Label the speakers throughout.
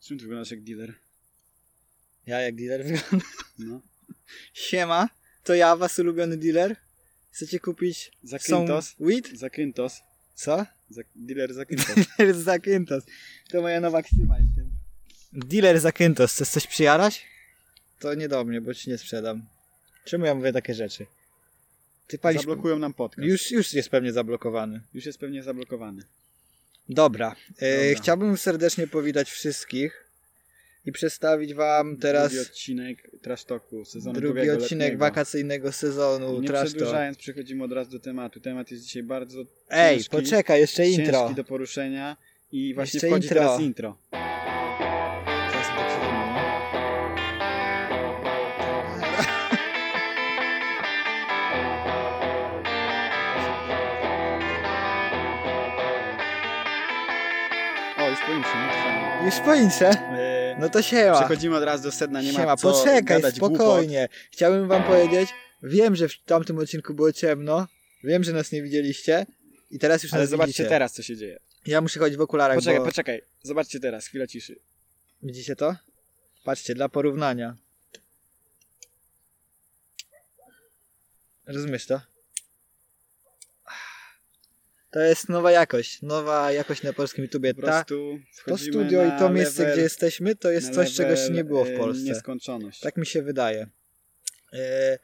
Speaker 1: Czym ty wyglądasz jak dealer?
Speaker 2: Ja jak dealer wyglądam.
Speaker 1: No.
Speaker 2: Siema, to ja, was ulubiony dealer. Chcecie kupić
Speaker 1: Za
Speaker 2: są
Speaker 1: Kintos?
Speaker 2: weed?
Speaker 1: Za Kintos.
Speaker 2: Co?
Speaker 1: Za... Dealer za Kintos.
Speaker 2: Dealer za Kintos. To moja nowa ksywa jest tym. Dealer za Kintos, chcesz coś przyjarać? To nie do mnie, bo ci nie sprzedam. Czemu ja mówię takie rzeczy? Ty palisz...
Speaker 1: Zablokują nam podcast. Już,
Speaker 2: Już, już jest pewnie zablokowany.
Speaker 1: jest pewnie zablokowany.
Speaker 2: Dobra. E,
Speaker 1: Dobra.
Speaker 2: Chciałbym serdecznie powitać wszystkich i przedstawić wam teraz
Speaker 1: Drugi odcinek Trash Talku sezonu
Speaker 2: drugi
Speaker 1: drugiego,
Speaker 2: odcinek
Speaker 1: letniego.
Speaker 2: wakacyjnego sezonu.
Speaker 1: I Nie
Speaker 2: Trash Talk.
Speaker 1: przedłużając, przechodzimy od razu do tematu. Temat jest dzisiaj bardzo
Speaker 2: Ej,
Speaker 1: ciężki,
Speaker 2: poczekaj, jeszcze
Speaker 1: ciężki
Speaker 2: intro.
Speaker 1: do poruszenia i właśnie
Speaker 2: Jeszcze
Speaker 1: wchodzi
Speaker 2: intro.
Speaker 1: teraz intro.
Speaker 2: Teraz poczekaj.
Speaker 1: no. O, już powiem się. nie? Fajnie.
Speaker 2: Już po intrze.
Speaker 1: E,
Speaker 2: No to siema.
Speaker 1: Przechodzimy od razu do sedna, nie ma
Speaker 2: siema.
Speaker 1: co
Speaker 2: Poczekaj,
Speaker 1: gadać Głupot.
Speaker 2: spokojnie. Chciałbym wam powiedzieć, wiem, że w tamtym odcinku było ciemno, wiem, że nas nie widzieliście i teraz już
Speaker 1: Ale
Speaker 2: nas
Speaker 1: zobaczcie
Speaker 2: widzicie.
Speaker 1: teraz, co się dzieje.
Speaker 2: Ja muszę chodzić w okularach,
Speaker 1: Poczekaj,
Speaker 2: bo...
Speaker 1: poczekaj. Zobaczcie teraz, chwila ciszy.
Speaker 2: Widzicie to? Patrzcie, dla porównania. Rozumiesz to? To jest nowa jakość. Nowa jakość na polskim YouTubie.
Speaker 1: Po
Speaker 2: Ta,
Speaker 1: prostu
Speaker 2: to
Speaker 1: wchodzimy
Speaker 2: studio i
Speaker 1: na
Speaker 2: to miejsce,
Speaker 1: level,
Speaker 2: gdzie jesteśmy, to jest
Speaker 1: na
Speaker 2: coś, czegoś
Speaker 1: level,
Speaker 2: nie było
Speaker 1: e,
Speaker 2: w Polsce.
Speaker 1: Nieskończoność.
Speaker 2: Tak mi się wydaje. E,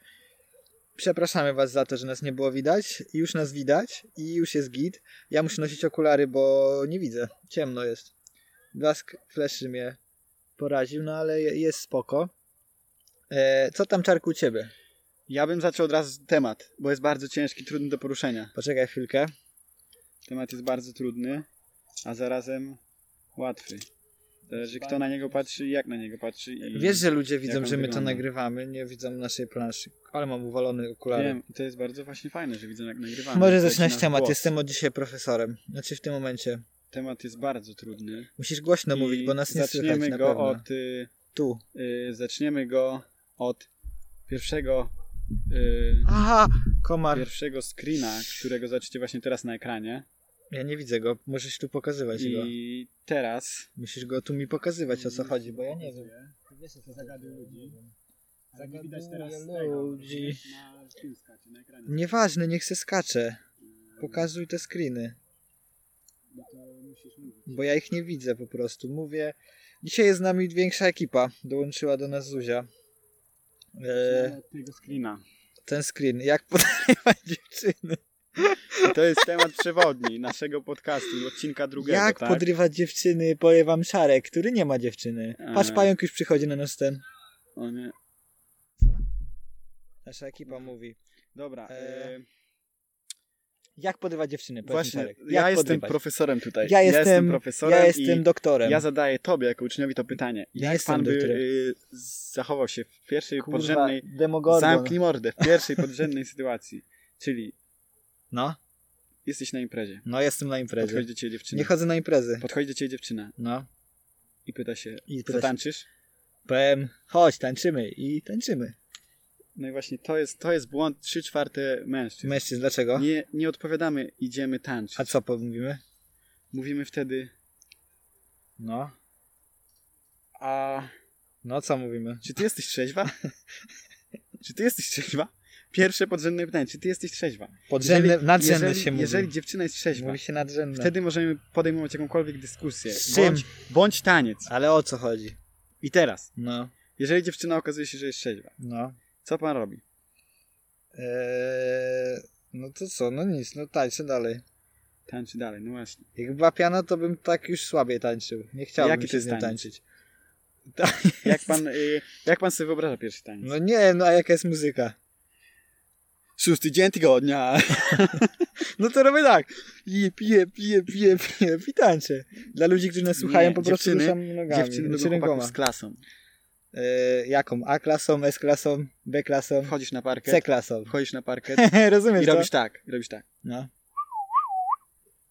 Speaker 2: Przepraszamy Was za to, że nas nie było widać. Już nas widać i już jest git. Ja muszę nosić okulary, bo nie widzę. Ciemno jest. Blask fleszy mnie poraził, no ale je- jest spoko. E, Co tam czarku u Ciebie?
Speaker 1: Ja bym zaczął od razu temat, bo jest bardzo ciężki, trudny do poruszenia.
Speaker 2: Poczekaj chwilkę.
Speaker 1: Temat jest bardzo trudny, a zarazem łatwy. Zależy kto na niego patrzy i jak na niego patrzy. I
Speaker 2: Wiesz, że ludzie widzą,
Speaker 1: on
Speaker 2: że my to
Speaker 1: wygląda?
Speaker 2: nagrywamy, nie widzą naszej planszy. Ale mam uwalony okulary.
Speaker 1: Wiem, i to jest bardzo właśnie fajne, że widzę jak nagrywamy.
Speaker 2: Może
Speaker 1: Widać
Speaker 2: zaczynać
Speaker 1: nasz
Speaker 2: temat.
Speaker 1: głos.
Speaker 2: Jestem od dzisiaj profesorem. Znaczy w tym momencie.
Speaker 1: Temat jest bardzo trudny.
Speaker 2: Musisz głośno
Speaker 1: I
Speaker 2: mówić, No, bo nas nie słychać
Speaker 1: zaczniemy
Speaker 2: na
Speaker 1: go
Speaker 2: pewno.
Speaker 1: od... Y,
Speaker 2: Tu.
Speaker 1: y, zaczniemy go od pierwszego... Y,
Speaker 2: Aha, komar.
Speaker 1: pierwszego screena, którego zobaczycie właśnie teraz na ekranie.
Speaker 2: Ja nie widzę go, musisz tu pokazywać go.
Speaker 1: I teraz
Speaker 2: Musisz go tu mi pokazywać o co chodzi, bo ja nie wiem.
Speaker 1: Wiesz, co zagaduje ludzi.
Speaker 2: Ale
Speaker 1: Zagaduje
Speaker 2: nie widać teraz tego,
Speaker 1: ludzi.
Speaker 2: Nieważne, niech se skacze. Pokazuj te screeny, bo ja ich nie widzę po prostu. Mówię, dzisiaj jest z nami większa ekipa, dołączyła do nas Zuzia. E,
Speaker 1: Tego screena.
Speaker 2: ten screen, jak podrywać dziewczyny?
Speaker 1: I to jest temat przewodni naszego podcastu, odcinka drugiego,
Speaker 2: jak
Speaker 1: tak?
Speaker 2: podrywać dziewczyny, powie wam Szarek, który nie ma dziewczyny. Patrz,
Speaker 1: A.
Speaker 2: pająk już przychodzi na nas ten.
Speaker 1: O nie.
Speaker 2: Nasza ekipa mówi,
Speaker 1: Dobra.
Speaker 2: E,
Speaker 1: e,
Speaker 2: jak podrywać dziewczyny, powiedz mi,
Speaker 1: właśnie,
Speaker 2: Szarek.
Speaker 1: ja
Speaker 2: jak
Speaker 1: jestem
Speaker 2: podrywać?
Speaker 1: profesorem tutaj.
Speaker 2: Ja jestem-
Speaker 1: profesorem
Speaker 2: Ja jestem
Speaker 1: i
Speaker 2: doktorem.
Speaker 1: ja zadaję tobie jako uczniowi to pytanie.
Speaker 2: Ja
Speaker 1: Jak
Speaker 2: jestem
Speaker 1: pan by
Speaker 2: doktorem.
Speaker 1: y, zachował się w pierwszej
Speaker 2: Kurwa,
Speaker 1: podrzędnej
Speaker 2: Demogorgon.
Speaker 1: Zamknij mordę w pierwszej podrzędnej sytuacji. Czyli
Speaker 2: No,
Speaker 1: jesteś na imprezie.
Speaker 2: no jestem na imprezie.
Speaker 1: Podchodzi do ciebie dziewczyna.
Speaker 2: Nie chodzę na imprezy.
Speaker 1: Podchodzi do ciebie dziewczyna
Speaker 2: No.
Speaker 1: i pyta się,
Speaker 2: I
Speaker 1: co
Speaker 2: pyta się,
Speaker 1: tańczysz?
Speaker 2: powiem, chodź, tańczymy. I tańczymy.
Speaker 1: No i właśnie to jest, to jest błąd 3 czwarte mężczyzn.
Speaker 2: Mężczyzn, dlaczego?
Speaker 1: Nie, nie odpowiadamy, idziemy tańczyć.
Speaker 2: A co mówimy?
Speaker 1: Mówimy wtedy,
Speaker 2: No.
Speaker 1: a
Speaker 2: No, co mówimy?
Speaker 1: czy ty jesteś trzeźwa? czy ty jesteś trzeźwa? Pierwsze podrzędne pytanie, czy ty jesteś trzeźwa?
Speaker 2: Podrzędne, nadrzędne
Speaker 1: jeżeli,
Speaker 2: się mówi.
Speaker 1: Jeżeli dziewczyna jest trzeźwa,
Speaker 2: mówi się nadrzędne.
Speaker 1: wtedy możemy podejmować jakąkolwiek dyskusję.
Speaker 2: Z czym?
Speaker 1: Bądź, bądź taniec.
Speaker 2: Ale o co chodzi?
Speaker 1: I teraz,
Speaker 2: No,
Speaker 1: jeżeli dziewczyna okazuje się, że jest trzeźwa,
Speaker 2: no.
Speaker 1: co pan robi?
Speaker 2: Eee, no to co, no nic, no tańczę dalej.
Speaker 1: Tańczy dalej, no właśnie.
Speaker 2: Jak była piana, to bym tak już słabiej tańczył. Nie chciałbym
Speaker 1: Jaki
Speaker 2: się
Speaker 1: to
Speaker 2: z nią
Speaker 1: jest
Speaker 2: tańczyć.
Speaker 1: taniec? Jak pan, y, jak pan sobie wyobraża pierwszy taniec?
Speaker 2: No nie, no a jaka jest muzyka?
Speaker 1: Szósty dzień tygodnia.
Speaker 2: No to robię tak. Piję, piję, piję, piję, piję, pitańczę. Dla ludzi, którzy nas słuchają,
Speaker 1: Nie,
Speaker 2: po prostu
Speaker 1: dziewczyny-
Speaker 2: ruszam nogami.
Speaker 1: Dziewczyny
Speaker 2: znaczy
Speaker 1: lubią chłopaków
Speaker 2: rękoma.
Speaker 1: z klasą.
Speaker 2: E, jaką? A klasą, S klasą, B klasą,
Speaker 1: Wchodzisz na
Speaker 2: C
Speaker 1: parkę,
Speaker 2: klasą.
Speaker 1: wchodzisz na parkę
Speaker 2: Rozumiesz
Speaker 1: i
Speaker 2: to?
Speaker 1: robisz tak, i robisz tak.
Speaker 2: No.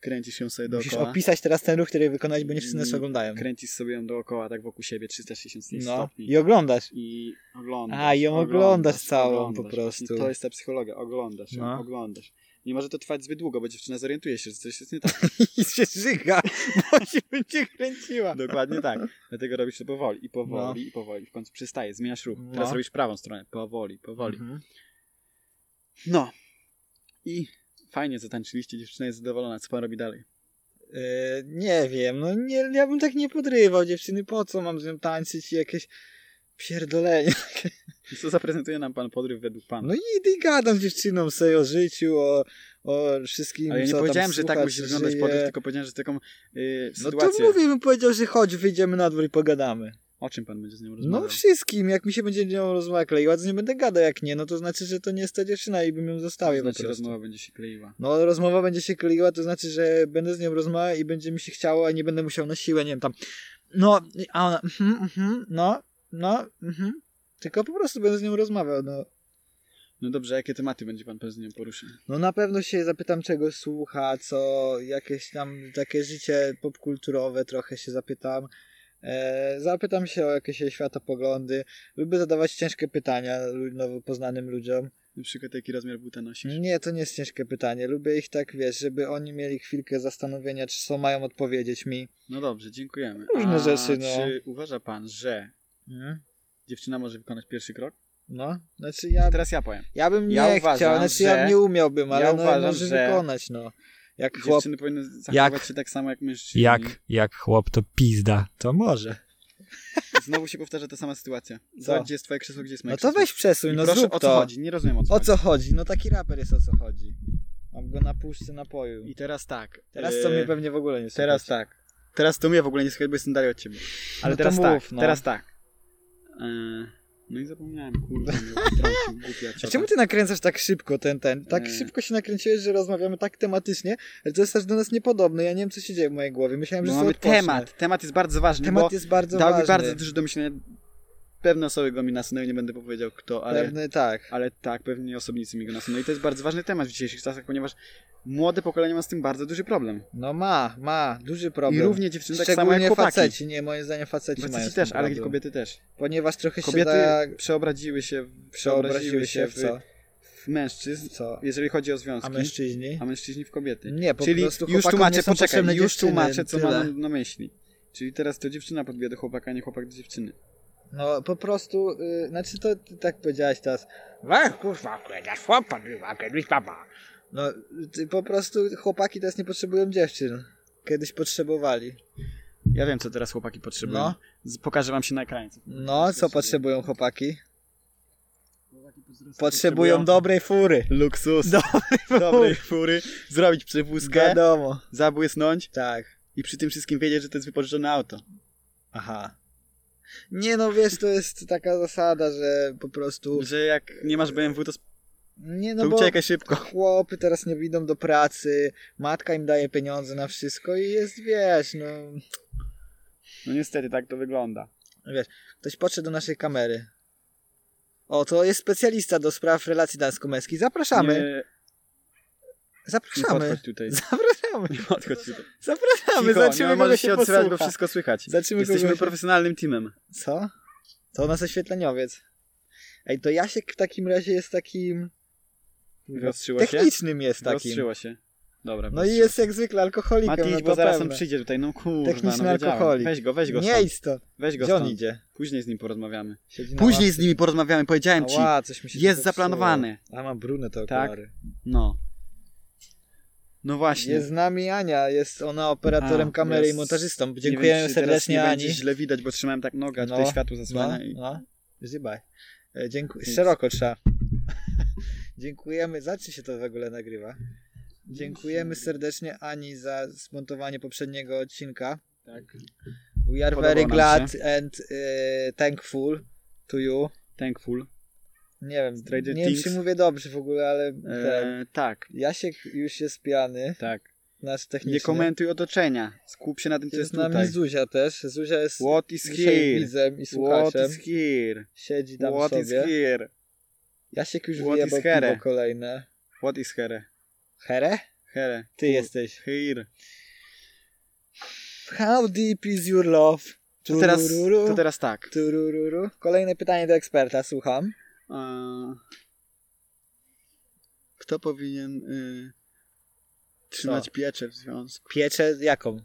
Speaker 1: Kręcisz ją sobie
Speaker 2: Musisz
Speaker 1: dookoła.
Speaker 2: opisać teraz ten ruch, który wykonać, bo nie wszyscy nas
Speaker 1: Mm,
Speaker 2: oglądają.
Speaker 1: Kręcisz sobie ją dookoła, tak wokół siebie, 360
Speaker 2: No.
Speaker 1: stopni.
Speaker 2: I oglądasz.
Speaker 1: I oglądasz.
Speaker 2: A, i ją oglądasz całą po prostu.
Speaker 1: I to jest ta psychologia, oglądasz ją,
Speaker 2: No.
Speaker 1: oglądasz. Nie może to trwać zbyt długo, bo dziewczyna zorientuje się, że coś jest nie tak.
Speaker 2: I się żyga, bo się będzie kręciła.
Speaker 1: Dokładnie tak. Dlatego robisz to powoli i powoli i powoli. W końcu przestajesz, zmieniasz ruch. Teraz
Speaker 2: No.
Speaker 1: robisz prawą stronę. Powoli, powoli.
Speaker 2: Mhm.
Speaker 1: No. I fajnie zatańczyliście, dziewczyna jest zadowolona. Co pan robi dalej?
Speaker 2: E, nie wiem, no nie, ja bym tak nie podrywał dziewczyny, po co mam z nią tańczyć i jakieś pierdolenie.
Speaker 1: Co zaprezentuje nam pan podryw według pana?
Speaker 2: No idę i gadam z dziewczyną sobie o życiu, o, o wszystkim,
Speaker 1: Ale ja nie
Speaker 2: co tam
Speaker 1: powiedziałem, że tak
Speaker 2: słychać,
Speaker 1: musi wyglądać
Speaker 2: żyje.
Speaker 1: podryw, tylko powiedziałem, że taką yy,
Speaker 2: No
Speaker 1: sytuację.
Speaker 2: to mówię, bym powiedział, że chodź, wyjdziemy na dwór i pogadamy.
Speaker 1: O czym pan będzie z nią rozmawiał?
Speaker 2: No wszystkim, jak mi się będzie nią rozmowa kleiła, to nie będę gadał, jak nie, no to znaczy, że to nie jest ta dziewczyna i bym ją zostawił
Speaker 1: znaczy,
Speaker 2: po prostu.
Speaker 1: rozmowa będzie się kleiła.
Speaker 2: No rozmowa będzie się kleiła, to znaczy, że będę z nią rozmawiał i będzie mi się chciało, a nie będę musiał na siłę, nie wiem, tam no, a ona, mhm, mhm, no, no, mhm. Tylko po prostu będę z nią rozmawiał, no.
Speaker 1: No dobrze, jakie tematy będzie pan z nią poruszał?
Speaker 2: No na pewno się zapytam, czego słucha, co, jakieś tam takie życie popkulturowe trochę się zapytam. E, zapytam się o jakieś jej światopoglądy. Lubię zadawać ciężkie pytania lu- nowo poznanym ludziom.
Speaker 1: Na przykład jaki rozmiar buta nosisz?
Speaker 2: Nie, to nie jest ciężkie pytanie. Lubię ich tak, wiesz, żeby oni mieli chwilkę zastanowienia, czy co mają odpowiedzieć mi.
Speaker 1: No dobrze, dziękujemy.
Speaker 2: Różne
Speaker 1: A
Speaker 2: rzeczy, no.
Speaker 1: Czy uważa pan, że
Speaker 2: Mhm.
Speaker 1: dziewczyna może wykonać pierwszy krok?
Speaker 2: No, znaczy ja,
Speaker 1: Teraz ja powiem.
Speaker 2: ja bym nie
Speaker 1: ja
Speaker 2: chciał,
Speaker 1: uważam,
Speaker 2: znaczy ja
Speaker 1: że-
Speaker 2: nie umiałbym,
Speaker 1: ja
Speaker 2: ale no,
Speaker 1: uważam,
Speaker 2: może
Speaker 1: że-
Speaker 2: wykonać, no. Jak chłop.
Speaker 1: Dziewczyny powinny zachowywać się tak samo jak mężczyźni.
Speaker 3: Jak, jak chłop to pizda, to może.
Speaker 1: Znowu się powtarza ta sama sytuacja.
Speaker 2: Co?
Speaker 1: Zobacz, gdzie jest twoje krzesło, gdzie jest moje
Speaker 2: No to
Speaker 1: krzesło.
Speaker 2: weź przesuń,
Speaker 1: I
Speaker 2: no
Speaker 1: proszę,
Speaker 2: zrób
Speaker 1: o co
Speaker 2: to.
Speaker 1: chodzi? Nie rozumiem, o co
Speaker 2: O
Speaker 1: chodzi.
Speaker 2: co chodzi? No taki raper jest o co chodzi. Mam go na puszce napoju.
Speaker 1: I teraz tak.
Speaker 2: Teraz to mnie
Speaker 1: e,
Speaker 2: pewnie w ogóle nie słychać.
Speaker 1: Teraz tak. Teraz to mnie w ogóle nie słychać, bo jestem dalej od ciebie. Ale
Speaker 2: No to
Speaker 1: teraz
Speaker 2: mów,
Speaker 1: tak,
Speaker 2: no.
Speaker 1: teraz tak. E, No i zapomniałem, kurwa, mnie wytrącił, głupia
Speaker 2: A
Speaker 1: ciota.
Speaker 2: czemu ty nakręcasz tak szybko ten, ten? Tak
Speaker 1: Nie.
Speaker 2: szybko się nakręciłeś, że rozmawiamy tak tematycznie, ale to jest też do nas niepodobne. Ja nie wiem, co się dzieje w mojej głowie. Myślałem, że
Speaker 1: Bo
Speaker 2: no,
Speaker 1: mamy temat. Temat jest bardzo ważny,
Speaker 2: Temat
Speaker 1: bo
Speaker 2: jest bardzo
Speaker 1: dał
Speaker 2: ważny.
Speaker 1: mi bardzo dużo do myślenia. Pewne osoby go mi nasunęły, nie będę powiedział kto, ale,
Speaker 2: Pewny, tak.
Speaker 1: ale tak, pewnie osobnicy mi go nasunęły. I to jest bardzo ważny temat w dzisiejszych czasach, ponieważ młode pokolenie ma z tym bardzo duży problem.
Speaker 2: No ma, ma. Duży problem.
Speaker 1: I równie dziewczyny tak samo jak
Speaker 2: Szczególnie
Speaker 1: chłopaki.
Speaker 2: faceci. Nie, moim zdaniem faceci, mają
Speaker 1: Faceci
Speaker 2: z tym
Speaker 1: też, ale
Speaker 2: problem.
Speaker 1: kobiety też.
Speaker 2: Ponieważ trochę
Speaker 1: Kobiety
Speaker 2: się da...
Speaker 1: przeobraziły się,
Speaker 2: Przeobraziły się w co?
Speaker 1: w mężczyzn,
Speaker 2: co?
Speaker 1: jeżeli chodzi o związki.
Speaker 2: A mężczyźni?
Speaker 1: a mężczyźni Mm, w kobiety.
Speaker 2: Nie, po
Speaker 1: Czyli
Speaker 2: prostu
Speaker 1: już
Speaker 2: chłopakom
Speaker 1: tłumaczę,
Speaker 2: nie są potrzebne
Speaker 1: poczekaj, już
Speaker 2: dziewczyny,
Speaker 1: tłumaczę, co
Speaker 2: tyle.
Speaker 1: mam na myśli. Czyli teraz to dziewczyna podbija do chłopaka, a nie chłopak do dziewczyny.
Speaker 2: No po prostu, y, znaczy to ty tak powiedziałaś teraz. Weź kurwa, kiedyś chłopak, bywa, kiedyś papa. No ty, po prostu chłopaki teraz nie potrzebują dziewczyn. Kiedyś potrzebowali.
Speaker 1: Ja wiem, co teraz chłopaki potrzebują.
Speaker 2: No.
Speaker 1: Z- Pokażę wam się na ekranie.
Speaker 2: No, co potrzebują chłopaki?
Speaker 1: Potrzebują,
Speaker 2: Potrzebują dobrej fury.
Speaker 1: luksus, dobrej fury, zrobić przewózkę,
Speaker 2: Wiadomo.
Speaker 1: zabłysnąć
Speaker 2: Tak.
Speaker 1: i przy tym wszystkim wiedzieć, że to jest wypożyczone auto.
Speaker 2: Aha. Nie no, wiesz, to jest taka zasada, że po prostu...
Speaker 1: Że jak nie masz BMW, to, sp-
Speaker 2: Nie
Speaker 1: to
Speaker 2: no, bo
Speaker 1: uciekaj szybko.
Speaker 2: chłopy teraz nie idą do pracy, matka im daje pieniądze na wszystko i jest, wiesz, no...
Speaker 1: No niestety, tak to wygląda.
Speaker 2: Ktoś podszedł do naszej kamery. O, to jest specjalista do spraw relacji damsko-męskich. Zapraszamy.
Speaker 1: Nie, nie
Speaker 2: Zapraszamy.
Speaker 1: podchodź tutaj.
Speaker 2: Zapraszamy.
Speaker 1: Nie podchodź tutaj.
Speaker 2: Zapraszamy.
Speaker 1: Cicho,
Speaker 2: Zobaczymy,
Speaker 1: nie
Speaker 2: kogo
Speaker 1: możesz
Speaker 2: się,
Speaker 1: się odzywać, bo
Speaker 2: posłucha.
Speaker 1: wszystko słychać.
Speaker 2: Zobaczymy,
Speaker 1: Jesteśmy
Speaker 2: kogo się...
Speaker 1: profesjonalnym teamem.
Speaker 2: Co? To u nas oświetleniowiec. Ej, to Jasiek w takim razie jest takim...
Speaker 1: Wyostrzyło się?
Speaker 2: Technicznym jest takim.
Speaker 1: Rozstrzyło się. Dobra.
Speaker 2: No i jest jak zwykle alkoholikiem.
Speaker 1: Mati,
Speaker 2: no
Speaker 1: idź,
Speaker 2: to
Speaker 1: bo zaraz on
Speaker 2: pewne.
Speaker 1: przyjdzie tutaj. No kurwa,
Speaker 2: Techniczny
Speaker 1: no wiedziałem.
Speaker 2: alkoholik.
Speaker 1: Weź go, weź go
Speaker 2: Nie
Speaker 1: stąd.
Speaker 2: idź to.
Speaker 1: Weź go
Speaker 2: Gdzie on
Speaker 1: stąd.
Speaker 2: idzie?
Speaker 1: Później z nim porozmawiamy.
Speaker 2: Siedzi na
Speaker 1: Później
Speaker 2: ławce.
Speaker 1: z nimi porozmawiamy, powiedziałem ci.
Speaker 2: Ała, coś mi się tu
Speaker 1: Jest
Speaker 2: popsuło.
Speaker 1: zaplanowane.
Speaker 2: A mam brune te
Speaker 1: Tak.
Speaker 2: okulary.
Speaker 1: No. No właśnie.
Speaker 2: Jest z nami Ania, jest ona operatorem
Speaker 1: A,
Speaker 2: kamery
Speaker 1: jest.
Speaker 2: i montażystą.
Speaker 1: Nie wiem,
Speaker 2: Dziękujemy
Speaker 1: czy
Speaker 2: serdecznie
Speaker 1: teraz nie
Speaker 2: Ani.
Speaker 1: Będzie źle widać, bo trzymałem tak nogę,
Speaker 2: No,
Speaker 1: tutaj światło
Speaker 2: No,
Speaker 1: zasłania. i...
Speaker 2: no. Zybaj. Dziękuję.
Speaker 1: Nic.
Speaker 2: Szeroko trzeba. Dziękujemy. Za czy się to w ogóle nagrywa? Dziękujemy serdecznie Ani za zmontowanie poprzedniego odcinka.
Speaker 1: Tak.
Speaker 2: We are
Speaker 1: Podobało
Speaker 2: very
Speaker 1: nam
Speaker 2: glad and y, thankful to you.
Speaker 1: Thankful.
Speaker 2: Nie wiem,
Speaker 1: Stranger
Speaker 2: nie wiem czy
Speaker 1: Things.
Speaker 2: mówię dobrze w ogóle, ale tak.
Speaker 1: E, tak,
Speaker 2: Jasiek już jest pijany,
Speaker 1: tak.
Speaker 2: nasz
Speaker 1: Nie
Speaker 2: techniczny.
Speaker 1: komentuj otoczenia. Skup się na tym, co
Speaker 2: jest
Speaker 1: jest
Speaker 2: z nami
Speaker 1: tutaj.
Speaker 2: Zuzia też. Zuzia jest
Speaker 1: What is
Speaker 2: dzisiaj
Speaker 1: here?
Speaker 2: widzem i
Speaker 1: What
Speaker 2: słuchaczem.
Speaker 1: is here?
Speaker 2: Siedzi tam
Speaker 1: What is
Speaker 2: sobie.
Speaker 1: here?
Speaker 2: Jasiek już
Speaker 1: What
Speaker 2: wyjebał
Speaker 1: is here?
Speaker 2: piwo kolejne.
Speaker 1: What is here?
Speaker 2: Here?
Speaker 1: Here.
Speaker 2: Ty jesteś.
Speaker 1: Here.
Speaker 2: How deep is your love?
Speaker 1: To teraz,
Speaker 2: Turururu.
Speaker 1: to teraz tak.
Speaker 2: Turururu. Kolejne pytanie do eksperta, słucham.
Speaker 1: Eee, Kto powinien y, trzymać pieczę w związku?
Speaker 2: Pieczę jaką?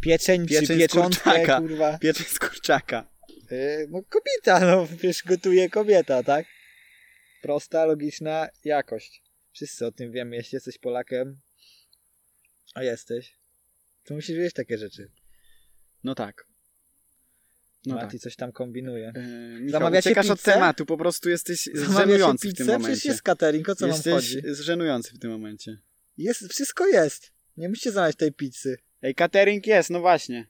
Speaker 2: Pieczeń, czy
Speaker 1: Pieczeń z
Speaker 2: pieczątkę,
Speaker 1: kurczaka.
Speaker 2: kurwa?
Speaker 1: Pieczę z kurczaka.
Speaker 2: Yy, no kobieta, no wiesz, gotuje kobieta, tak? Prosta, logiczna jakość. Wszyscy o tym wiemy, jeśli jesteś Polakiem, a jesteś, to musisz wiedzieć takie rzeczy.
Speaker 1: No tak.
Speaker 2: No
Speaker 1: No
Speaker 2: Mati coś tam kombinuje.
Speaker 1: tak. Y, Michał,
Speaker 2: Zamawiacie
Speaker 1: uciekasz od
Speaker 2: pizzę?
Speaker 1: tematu, po prostu jesteś
Speaker 2: Zamawiasz
Speaker 1: zżenujący w tym
Speaker 2: pizzę? Przecież
Speaker 1: momencie.
Speaker 2: jest catering, o co wam
Speaker 1: Jesteś
Speaker 2: chodzi?
Speaker 1: zżenujący w tym momencie.
Speaker 2: Jest, wszystko jest. Nie musicie zamawiać tej pizzy.
Speaker 1: Ej, catering jest, no właśnie.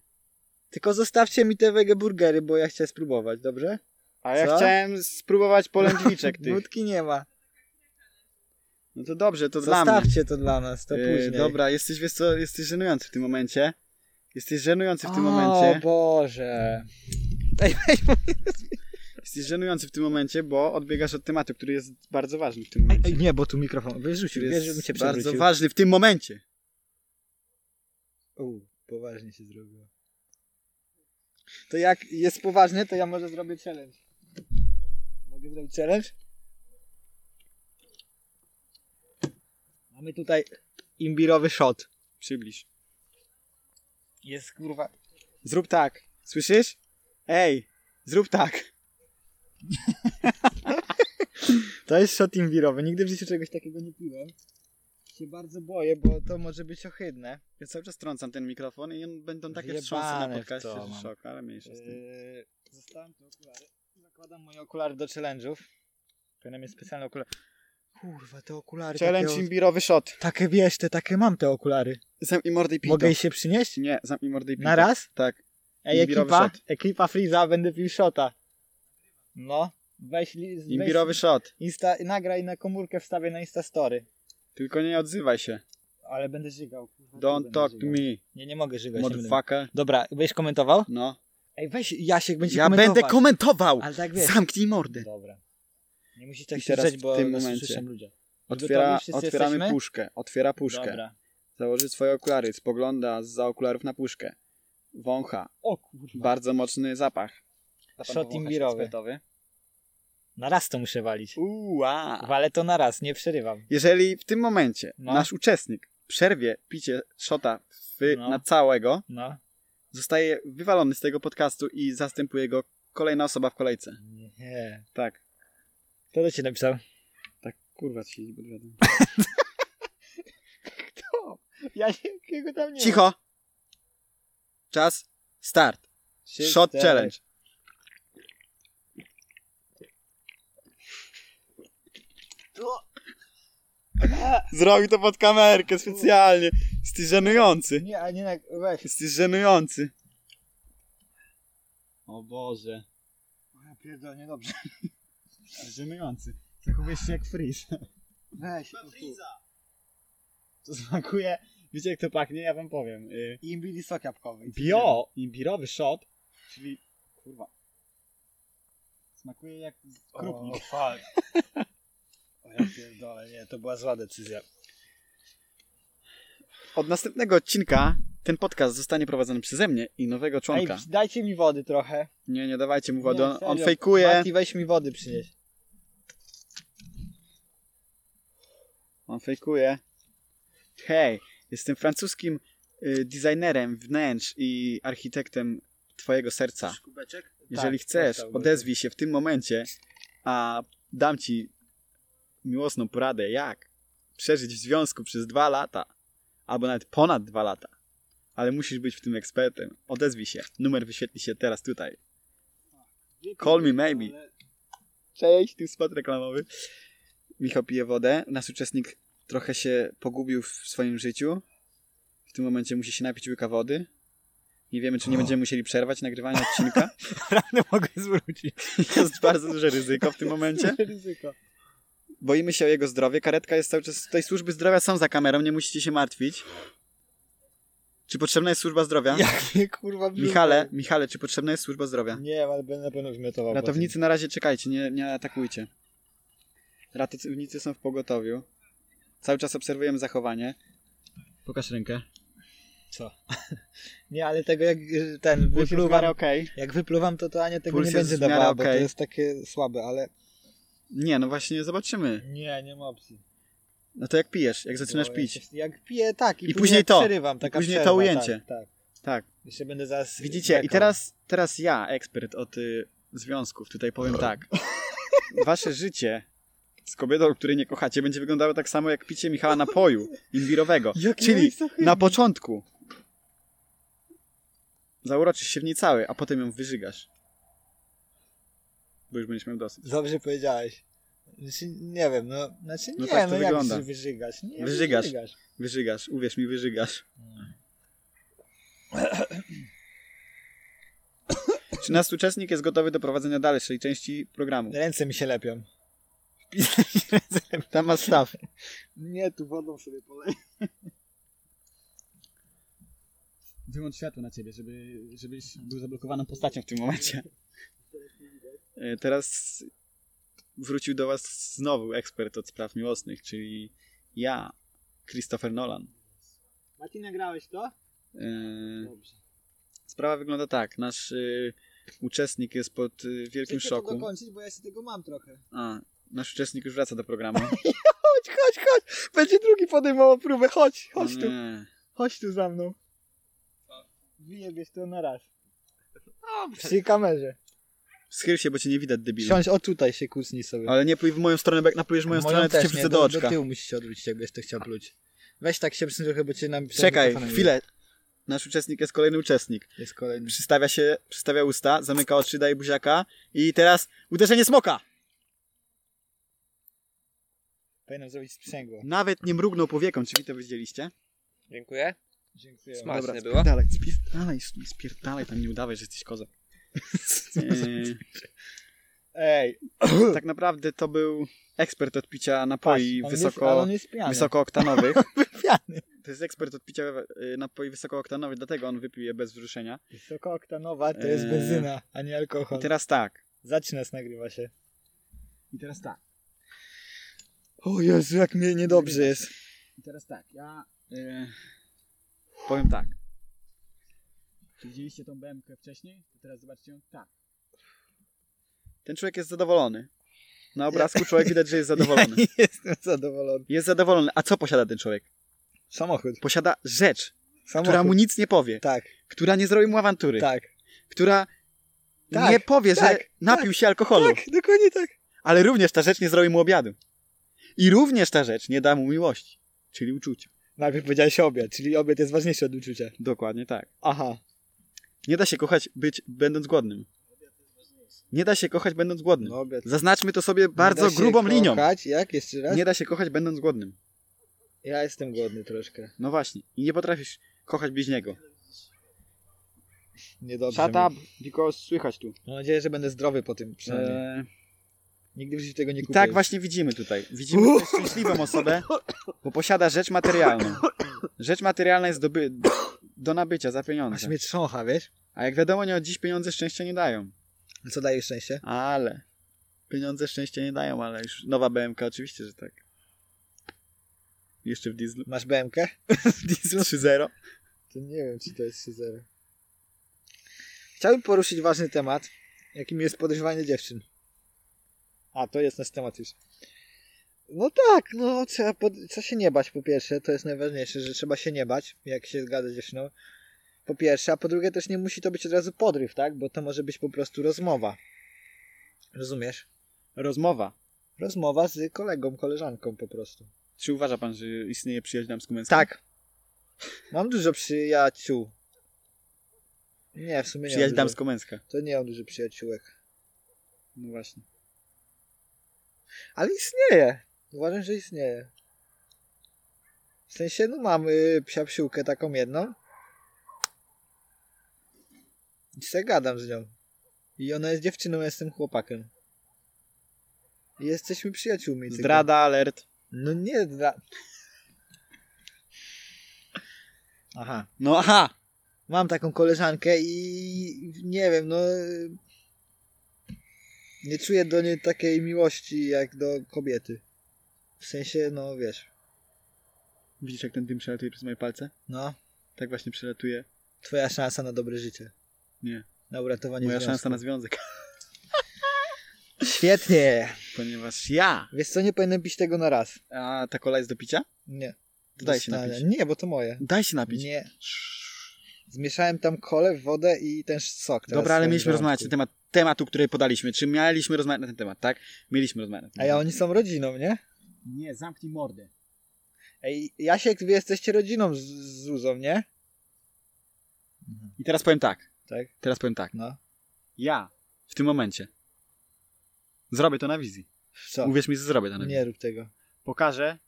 Speaker 2: Tylko zostawcie mi te wege burgery, bo ja chciałem spróbować, dobrze?
Speaker 1: A ja
Speaker 2: Co?
Speaker 1: chciałem spróbować polędwiczek tych.
Speaker 2: Wódki nie ma.
Speaker 1: No to dobrze, to dla mnie.
Speaker 2: Zostawcie to dla nas, to
Speaker 1: E,
Speaker 2: później.
Speaker 1: Dobra, jesteś, wiesz co, jesteś żenujący w tym momencie. Jesteś żenujący w tym
Speaker 2: O
Speaker 1: momencie.
Speaker 2: Boże.
Speaker 1: Jesteś żenujący w tym momencie, bo odbiegasz od tematu, który jest bardzo ważny w tym
Speaker 2: Ej,
Speaker 1: momencie.
Speaker 2: ej, nie, bo tu mikrofon wyrzucił,
Speaker 1: Który
Speaker 2: wiesz, żebym
Speaker 1: jest
Speaker 2: cię
Speaker 1: bardzo
Speaker 2: przewrócił.
Speaker 1: ważny w tym momencie.
Speaker 2: U, poważnie się zrobiło. To jak jest poważnie, to ja może zrobię challenge. Mogę zrobić challenge? Mamy tutaj imbirowy shot.
Speaker 1: Przybliż.
Speaker 2: Jest kurwa.
Speaker 1: Zrób tak. Słyszysz? Ej, zrób tak.
Speaker 2: To jest shot imbirowy. Nigdy w życiu czegoś takiego nie piłem. Się bardzo boję, bo to może być ohydne.
Speaker 1: Ja cały czas trącam ten mikrofon i on będą takie
Speaker 2: Wyjebane
Speaker 1: wstrząsy na
Speaker 2: w
Speaker 1: podcaście,
Speaker 2: to mam.
Speaker 1: że szok, ale mniejsza z tym.
Speaker 2: Yy, zostałem tu okulary. Zakładam moje okulary do challenge'ów. Powinienem mieć specjalne okulary. Kurwa, te okulary.
Speaker 1: Challenge
Speaker 2: takie,
Speaker 1: imbirowy shot.
Speaker 2: takie wiesz, te takie mam te okulary.
Speaker 1: Zamknij mordę i pij
Speaker 2: Mogę
Speaker 1: to.
Speaker 2: je się przynieść?
Speaker 1: Nie, zamknij mordę i pij
Speaker 2: Na
Speaker 1: to.
Speaker 2: raz?
Speaker 1: Tak.
Speaker 2: Ej,
Speaker 1: Imbirowy
Speaker 2: ekipa,
Speaker 1: shot.
Speaker 2: ekipa Freeza, będę pił shota. No, weź, li- weź
Speaker 1: Imbirowy shot.
Speaker 2: insta, nagraj na komórkę, wstawię na Instastory.
Speaker 1: Tylko nie odzywaj się.
Speaker 2: Ale będę żygał. kurwa, tu
Speaker 1: Don't
Speaker 2: będę
Speaker 1: talk to
Speaker 2: żygał.
Speaker 1: me,
Speaker 2: Nie, nie mogę żygać. nie będę-
Speaker 1: motherfucker.
Speaker 2: Dobra, będziesz komentował?
Speaker 1: No.
Speaker 2: Ej, weź Jasiek, będzie
Speaker 1: Ja
Speaker 2: komentował.
Speaker 1: będę komentował!
Speaker 2: Ale tak wiesz.
Speaker 1: Zamknij mordę.
Speaker 2: Dobra. Nie musicie tak
Speaker 1: I teraz
Speaker 2: krzyczeć, bo
Speaker 1: w tym
Speaker 2: nas
Speaker 1: momencie.
Speaker 2: słyszą ludzie.
Speaker 1: Otwiera,
Speaker 2: Gotowi? Wszyscy
Speaker 1: otwieramy
Speaker 2: jesteśmy?
Speaker 1: puszkę. Otwiera puszkę.
Speaker 2: Dobra.
Speaker 1: Założy swoje okulary, spogląda za okularów na puszkę. Wącha.
Speaker 2: O kurwa.
Speaker 1: Bardzo mocny zapach.
Speaker 2: Shot imbirowy. Na raz to muszę walić.
Speaker 1: Uła.
Speaker 2: Walę to na raz, nie przerywam.
Speaker 1: Jeżeli w tym momencie
Speaker 2: No.
Speaker 1: nasz uczestnik przerwie picie szota w,
Speaker 2: No.
Speaker 1: na całego,
Speaker 2: No.
Speaker 1: zostaje wywalony z tego podcastu i zastępuje go kolejna osoba w kolejce.
Speaker 2: Nie.
Speaker 1: Tak.
Speaker 2: Kto do ciebie napisał?
Speaker 1: Tak, kurwa, ci nie podwiadam.
Speaker 2: Kto? Ja jakiego tam nie
Speaker 1: Cicho! Czas. Start. Shot challenge. Zrobił to pod kamerkę specjalnie. Jesteś żenujący.
Speaker 2: Nie, a nie na... Weź.
Speaker 1: Jesteś żenujący. O Boże.
Speaker 2: Ja pierdolę, Tak nie dobrze.
Speaker 1: Jesteś żenujący. Zachowujesz się jak Freeze.
Speaker 2: Weź.
Speaker 1: To smakuje... Wiecie jak to pachnie? Ja wam powiem. Y,
Speaker 2: Imbili sok jabłkowy.
Speaker 1: Bio, imbirowy shot, czyli... Kurwa. Smakuje jak
Speaker 2: O,
Speaker 1: krupnik.
Speaker 2: fuck. O ja pierdolę, nie, to była zła decyzja.
Speaker 1: Od następnego odcinka ten podcast zostanie prowadzony przeze mnie i nowego
Speaker 2: Ej,
Speaker 1: członka.
Speaker 2: dajcie mi wody trochę.
Speaker 1: Nie, nie dawajcie mu wody.
Speaker 2: Nie,
Speaker 1: On, on
Speaker 2: serio.
Speaker 1: fejkuje.
Speaker 2: Mati, weź mi wody przynieść.
Speaker 1: On fejkuje. Hej, jestem francuskim y, designerem wnętrz i architektem twojego serca.
Speaker 2: Kubeczek?
Speaker 1: Jeżeli
Speaker 2: Tak,
Speaker 1: chcesz, odezwij się w tym momencie, a dam ci miłosną poradę, jak przeżyć w związku przez dwa lata, albo nawet ponad dwa lata. Ale musisz być w tym ekspertem. Odezwij się. Numer wyświetli się teraz tutaj. Call me maybe. Cześć, tu spot reklamowy. Michał pije wodę. Nasz uczestnik trochę się pogubił w swoim życiu. W tym momencie musi się napić łyka wody. Nie wiemy, czy nie będziemy musieli przerwać nagrywania odcinka.
Speaker 2: Prawdę mogę zwrócić.
Speaker 1: Jest bardzo duże ryzyko w tym momencie.
Speaker 2: Ryzyko.
Speaker 1: Boimy się o jego zdrowie. Karetka jest cały czas. Tej służby zdrowia są za kamerą, nie musicie się martwić. Czy potrzebna jest służba zdrowia?
Speaker 2: Jak mnie kurwa brzuch
Speaker 1: Michale, Michale, czy potrzebna jest służba zdrowia?
Speaker 2: boli. Nie, ale będę na pewno wymiotował.
Speaker 1: Ratownicy na razie czekajcie, nie, nie atakujcie. Ratownicy są w pogotowiu. Cały czas obserwujemy zachowanie. Pokaż rękę.
Speaker 2: potem. Co? Nie, ale tego jak y, ten
Speaker 1: Puls jest w miarę
Speaker 2: wypluwam.
Speaker 1: okej.
Speaker 2: Jak wypluwam, to to Ania tego
Speaker 1: Puls
Speaker 2: nie
Speaker 1: jest
Speaker 2: będzie
Speaker 1: w miarę
Speaker 2: dawała, bo to
Speaker 1: okej.
Speaker 2: jest takie słabe, ale.
Speaker 1: Nie, no właśnie, zobaczymy.
Speaker 2: Nie, nie ma opcji.
Speaker 1: No to jak pijesz, jak zaczynasz
Speaker 2: Bo
Speaker 1: pić.
Speaker 2: Jak, się- jak piję, tak. I,
Speaker 1: I później
Speaker 2: później
Speaker 1: to.
Speaker 2: Przerywam, taka
Speaker 1: później to
Speaker 2: przerwa,
Speaker 1: ujęcie.
Speaker 2: Tak, tak.
Speaker 1: Tak.
Speaker 2: Jeszcze będę zaraz...
Speaker 1: Widzicie, i
Speaker 2: bekał.
Speaker 1: teraz, teraz ja, ekspert od y, związków, tutaj powiem tak. Wasze życie z kobietą, której nie kochacie, będzie wyglądało tak samo jak picie Michała napoju imbirowego.
Speaker 2: Jaki
Speaker 1: Czyli
Speaker 2: jest to chyba?
Speaker 1: na początku zauroczysz się w niej cały, a potem ją wyżygasz. Bo już będziesz miał dosyć.
Speaker 2: Dobrze powiedziałeś. Znaczy, nie wiem, no... Znaczy nie,
Speaker 1: No
Speaker 2: no,
Speaker 1: tak to
Speaker 2: jak
Speaker 1: wygląda.
Speaker 2: się wyżygasz? Nie,
Speaker 1: Wyżygasz. Wyżygasz, uwierz mi, wyżygasz. Czy nasz uczestnik jest gotowy do prowadzenia dalszej części programu?
Speaker 2: Ręce mi się lepią.
Speaker 1: Tam masz staw.
Speaker 2: Nie, tu wodą sobie poleję.
Speaker 1: Wyłącz światło na ciebie, żeby, żebyś był zablokowaną postacią w tym momencie. E, Teraz wrócił do was znowu ekspert od spraw miłosnych, czyli ja, Christopher Nolan.
Speaker 2: Mati, nagrałeś to?
Speaker 1: E,
Speaker 2: Dobrze.
Speaker 1: Sprawa wygląda tak. Nasz y, uczestnik jest pod y, wielkim
Speaker 2: Chcę to
Speaker 1: szoku.
Speaker 2: dokończyć, bo ja się tego mam trochę.
Speaker 1: A, nasz uczestnik już wraca do programu.
Speaker 2: Chodź, chodź, chodź! Będzie drugi podejmował próbę, chodź,
Speaker 1: O
Speaker 2: chodź tu.
Speaker 1: No nie.
Speaker 2: Chodź tu za mną. Wyjebiesz to na raz. Przy kamerze.
Speaker 1: Schyl się, bo cię nie widać, debilu.
Speaker 2: Siądź o tutaj się kucnij sobie.
Speaker 1: Ale nie pluj w moją stronę, bo jak naplujesz w moją, stronę, to cię wrzucę do
Speaker 2: Do
Speaker 1: oczka.
Speaker 2: tyłu musisz się odwrócić, jakbyś to chciał pluć. Weź tak się przysuń trochę, bo cię nam...
Speaker 1: Czekaj,
Speaker 2: mikrofonem
Speaker 1: chwilę. Nasz uczestnik jest kolejny uczestnik.
Speaker 2: Jest kolejny.
Speaker 1: przystawia się, przystawia usta, zamyka oczy, daje buziaka i teraz uderzenie smoka.
Speaker 2: Powinienem zrobić sprzęgło.
Speaker 1: Nawet nie mrugnął powieką, czy wy to widzieliście?
Speaker 4: Dziękuję.
Speaker 2: Dziękuję.
Speaker 4: Smaczne było.
Speaker 1: spierdalaj, spierdalaj, spierdalaj, tam nie udawaj, że jesteś kozak. Eee,
Speaker 2: Ej,
Speaker 1: tak naprawdę to był ekspert od picia napoi
Speaker 2: on Jest, ale
Speaker 1: wysoko,
Speaker 2: on jest pijany.
Speaker 1: wysokooktanowych.
Speaker 2: Pijany.
Speaker 1: To jest ekspert od picia y, napoi wysokooktanowych, dlatego on wypił je bez wzruszenia.
Speaker 2: Wysokooktanowa to jest
Speaker 1: Eee.
Speaker 2: benzyna, a nie alkohol.
Speaker 1: I teraz tak.
Speaker 2: Zaczyna nas nagrywa się.
Speaker 1: I teraz tak.
Speaker 2: O Jezu, jak mnie niedobrze jest.
Speaker 1: I teraz tak, ja e, powiem tak. Czy widzieliście tą BMK wcześniej? To teraz zobaczcie ją tak. Ten człowiek jest zadowolony. Na obrazku człowiek widać, że jest zadowolony.
Speaker 2: Nie jestem zadowolony.
Speaker 1: Jest zadowolony. A co posiada ten człowiek?
Speaker 2: Samochód.
Speaker 1: Posiada rzecz,
Speaker 2: Samochód.
Speaker 1: która mu nic nie powie,
Speaker 2: Tak,
Speaker 1: która nie zrobi mu awantury,
Speaker 2: tak.
Speaker 1: która
Speaker 2: Tak,
Speaker 1: nie powie, że
Speaker 2: tak,
Speaker 1: napił się alkoholu,
Speaker 2: Tak, dokładnie tak.
Speaker 1: ale również ta rzecz nie zrobi mu obiadu. I również ta rzecz nie da mu miłości, czyli uczucia.
Speaker 2: Najpierw powiedziałeś obiad, czyli obiad jest ważniejszy od uczucia.
Speaker 1: Dokładnie tak.
Speaker 2: Aha.
Speaker 1: Nie da się kochać być będąc głodnym. Nie da się kochać będąc głodnym.
Speaker 2: No obiad.
Speaker 1: Zaznaczmy to sobie bardzo grubą linią.
Speaker 2: Jak? Jeszcze raz?
Speaker 1: Nie da się kochać będąc głodnym.
Speaker 2: Ja jestem głodny troszkę.
Speaker 1: No właśnie. I nie potrafisz kochać bliźniego.
Speaker 2: Niedobrze
Speaker 1: Shut
Speaker 2: mi.
Speaker 1: up, because słychać tu.
Speaker 2: Mam nadzieję, że będę zdrowy po tym przynajmniej.
Speaker 1: Eee,
Speaker 2: Nigdy w życiu tego nie
Speaker 1: I
Speaker 2: kupię.
Speaker 1: tak właśnie widzimy tutaj. Widzimy tutaj szczęśliwą osobę, bo posiada rzecz materialną. Rzecz materialna jest do, by... do nabycia za
Speaker 2: Aż
Speaker 1: pieniądze.
Speaker 2: mnie trzącha, wiesz?
Speaker 1: A jak wiadomo, nie od dziś pieniądze szczęścia nie dają.
Speaker 2: Co daje szczęście?
Speaker 1: Ale. Pieniądze szczęścia nie dają, ale już nowa BMK oczywiście, że tak. Jeszcze w dieslu.
Speaker 2: Masz BMK?
Speaker 1: Diesel 3.0.
Speaker 2: To nie wiem, czy to jest 3 zero. Chciałbym poruszyć ważny temat, jakim jest podejrzewanie dziewczyn. A, to jest nasz temat już. No tak, no trzeba pod... co się nie bać po pierwsze, to jest najważniejsze, że trzeba się nie bać, jak się zgadza z dziewczyną. Po pierwsze, a po drugie też nie musi to być od razu podryw, tak? Bo to może być po prostu rozmowa. Rozumiesz?
Speaker 1: Rozmowa.
Speaker 2: Rozmowa z kolegą, koleżanką po prostu.
Speaker 1: Czy uważa pan, że istnieje przyjaźń damsko-męska?
Speaker 2: Tak. Mam dużo przyjaciół. Nie, w sumie nie.
Speaker 1: Przyjaźń
Speaker 2: mam dużo.
Speaker 1: damsko-męska.
Speaker 2: To nie mam dużo przyjaciółek.
Speaker 1: No właśnie.
Speaker 2: Ale istnieje. Uważam, że istnieje. W sensie, no mam y, psiapsiłkę taką jedną. I se gadam z nią. I ona jest dziewczyną, ja jestem chłopakiem. I jesteśmy przyjaciółmi. tylko-
Speaker 1: Zdrada, alert.
Speaker 2: No nie zdra... Aha.
Speaker 1: No aha!
Speaker 2: Mam taką koleżankę i nie wiem, no. Nie czuję do niej takiej miłości jak do kobiety. W sensie, no wiesz.
Speaker 1: Widzisz, jak ten dym przelatuje przez moje palce?
Speaker 2: No,
Speaker 1: Tak właśnie przelatuje
Speaker 2: twoja szansa na dobre życie.
Speaker 1: Nie.
Speaker 2: Na uratowanie
Speaker 1: moja
Speaker 2: związku.
Speaker 1: szansa na związek.
Speaker 2: Świetnie.
Speaker 1: Ponieważ ja.
Speaker 2: Wiesz co, nie powinienem pić tego na raz.
Speaker 1: A ta kola jest do picia?
Speaker 2: Nie.
Speaker 1: To daj się
Speaker 2: Dostanę.
Speaker 1: napić.
Speaker 2: Nie, bo to moje.
Speaker 1: Daj się napić.
Speaker 2: Nie. Zmieszałem tam kole, wodę i ten sok. teraz
Speaker 1: Dobra, ale
Speaker 2: w
Speaker 1: mieliśmy
Speaker 2: garnku.
Speaker 1: rozmawiać na temat tematu, który podaliśmy. Czy mieliśmy rozmawiać na ten temat, tak? Mieliśmy rozmawiać na ten
Speaker 2: A
Speaker 1: temat.
Speaker 2: ja oni są rodziną, nie?
Speaker 1: Nie, zamknij mordę.
Speaker 2: Ej, Jasiek, wy jesteście rodziną z, z Zuzą, nie?
Speaker 1: I teraz powiem tak.
Speaker 2: Tak.
Speaker 1: Teraz powiem tak.
Speaker 2: No.
Speaker 1: Ja w tym momencie zrobię to na wizji.
Speaker 2: Co?
Speaker 1: Uwierz mi, że zrobię to na wizji.
Speaker 2: Nie rób tego.
Speaker 1: Pokażę,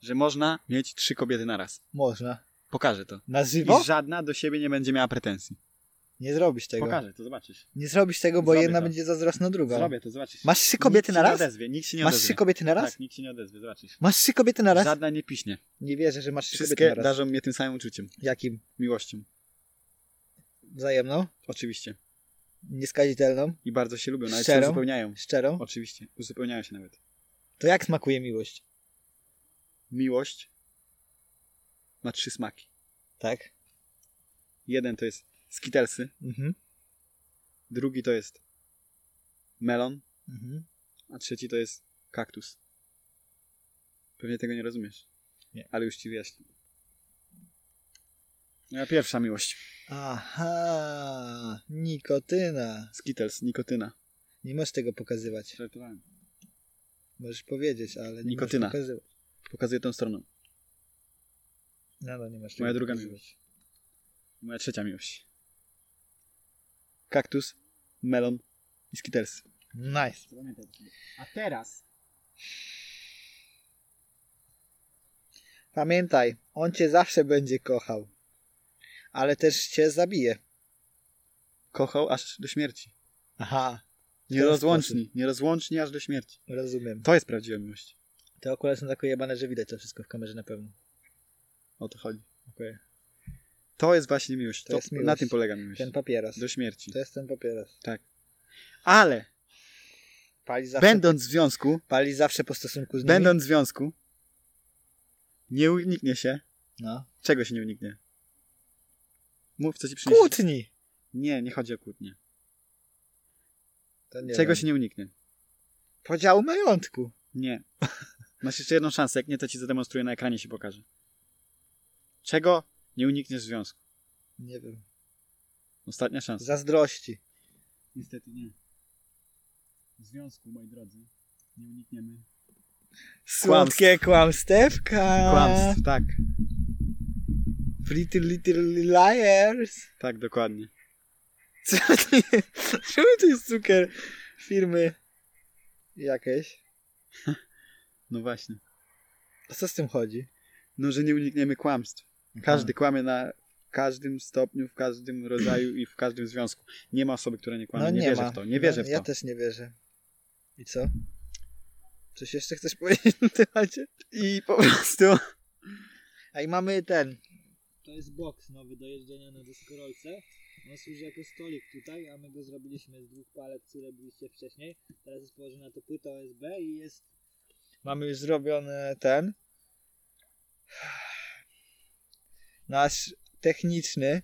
Speaker 1: że można mieć trzy kobiety na raz.
Speaker 2: Można.
Speaker 1: Pokażę to.
Speaker 2: Na żywo?
Speaker 1: I żadna do siebie nie będzie miała pretensji.
Speaker 2: Nie zrobisz tego.
Speaker 1: Pokażę to, zobaczysz.
Speaker 2: Nie zrobisz tego, bo
Speaker 1: Zrobię
Speaker 2: jedna
Speaker 1: to.
Speaker 2: będzie zazdrosna druga.
Speaker 1: Zrobię to, zobaczysz.
Speaker 2: Masz trzy kobiety
Speaker 1: nikt
Speaker 2: na
Speaker 1: się
Speaker 2: raz?
Speaker 1: Nie odezwie, nikt się nie
Speaker 2: Masz
Speaker 1: odezwie.
Speaker 2: trzy kobiety na raz?
Speaker 1: Tak, nikt się nie odezwie, zobaczysz.
Speaker 2: Masz trzy kobiety na raz?
Speaker 1: Żadna nie piśnie.
Speaker 2: Nie wierzę, że masz trzy
Speaker 1: Wszystkie
Speaker 2: kobiety na raz.
Speaker 1: darzą mnie tym samym uczuciem.
Speaker 2: Jakim?
Speaker 1: Miłością.
Speaker 2: Wzajemną?
Speaker 1: Oczywiście.
Speaker 2: Nieskazitelną?
Speaker 1: I bardzo się lubią, nawet
Speaker 2: Szczerą?
Speaker 1: się uzupełniają.
Speaker 2: Szczerą?
Speaker 1: Oczywiście, uzupełniają się nawet.
Speaker 2: To jak smakuje miłość?
Speaker 1: Miłość ma trzy smaki.
Speaker 2: Tak?
Speaker 1: Jeden to jest skitelsy,
Speaker 2: Mhm.
Speaker 1: drugi to jest melon,
Speaker 2: mhm.
Speaker 1: a trzeci to jest kaktus. Pewnie tego nie rozumiesz.
Speaker 2: Nie.
Speaker 1: Ale już ci wyjaśnię. Moja pierwsza miłość.
Speaker 2: Aha, nikotyna.
Speaker 1: Skitels, nikotyna.
Speaker 2: Nie możesz tego pokazywać.
Speaker 1: Żartowałem.
Speaker 2: Możesz powiedzieć, ale nie
Speaker 1: Nikotyna.
Speaker 2: możesz pokazywać.
Speaker 1: Pokazuję tą stroną.
Speaker 2: No, no, nie masz
Speaker 1: Moja
Speaker 2: tego
Speaker 1: druga
Speaker 2: pokazywać.
Speaker 1: miłość. Moja trzecia miłość. Kaktus, melon i skitels.
Speaker 2: Nice.
Speaker 1: A teraz
Speaker 2: Pamiętaj, on cię zawsze będzie kochał. Ale też cię zabije.
Speaker 1: kochał aż do śmierci.
Speaker 2: Aha,
Speaker 1: Nierozłączni, nierozłączni aż do śmierci.
Speaker 2: rozumiem.
Speaker 1: To jest prawdziwa miłość.
Speaker 2: Te okulary są takie jebane, że widać to wszystko w kamerze na pewno.
Speaker 1: O to chodzi.
Speaker 2: Okej.
Speaker 1: To jest właśnie miłość.
Speaker 2: To
Speaker 1: To
Speaker 2: jest miłość.
Speaker 1: Na tym polega miłość.
Speaker 2: Ten papieras.
Speaker 1: Do śmierci.
Speaker 2: To jest ten papieras.
Speaker 1: Ale
Speaker 2: Pali zawsze, tak.
Speaker 1: będąc w związku,
Speaker 2: pali zawsze po stosunku z nimi.
Speaker 1: będąc w związku, nie uniknie się.
Speaker 2: No.
Speaker 1: Czego się nie uniknie? Mów, co ci przyniesie.
Speaker 2: Kłótni!
Speaker 1: Nie, nie chodzi o kłótnie.
Speaker 2: To nie
Speaker 1: Czego
Speaker 2: wiem.
Speaker 1: się nie uniknie?
Speaker 2: Podziału majątku.
Speaker 1: Nie. Masz jeszcze jedną szansę. Jak nie, to ci zademonstruję na ekranie, się pokaże. Czego nie unikniesz w związku?
Speaker 2: Nie wiem.
Speaker 1: Ostatnia szansa.
Speaker 2: Zazdrości.
Speaker 1: Niestety nie. W związku, moi drodzy, nie unikniemy.
Speaker 2: Słodkie kłamstewka.
Speaker 1: Kłamstw, tak,
Speaker 2: Pretty little liars.
Speaker 1: tak, dokładnie.
Speaker 2: Co to jest? Czemu to jest cukier firmy jakieś?
Speaker 1: No właśnie.
Speaker 2: A co z tym chodzi?
Speaker 1: No, że nie unikniemy kłamstw. Każdy kłamie na każdym stopniu, w każdym rodzaju i w każdym związku. Nie ma osoby, która nie kłamie.
Speaker 2: No
Speaker 1: nie,
Speaker 2: nie,
Speaker 1: wierzę
Speaker 2: ma.
Speaker 1: w to. Nie wierzę
Speaker 2: no,
Speaker 1: w to.
Speaker 2: Ja też nie wierzę. I co? Coś jeszcze chcesz powiedzieć na temacie?
Speaker 1: I po prostu...
Speaker 2: A i mamy ten.
Speaker 4: To jest boks nowy do jeżdżenia na deskorolce. On służy jako stolik tutaj, a my go zrobiliśmy z dwóch palet, które byliście wcześniej. Teraz jest położona to płyta OSB i jest
Speaker 2: Mamy już zrobiony ten. Nasz techniczny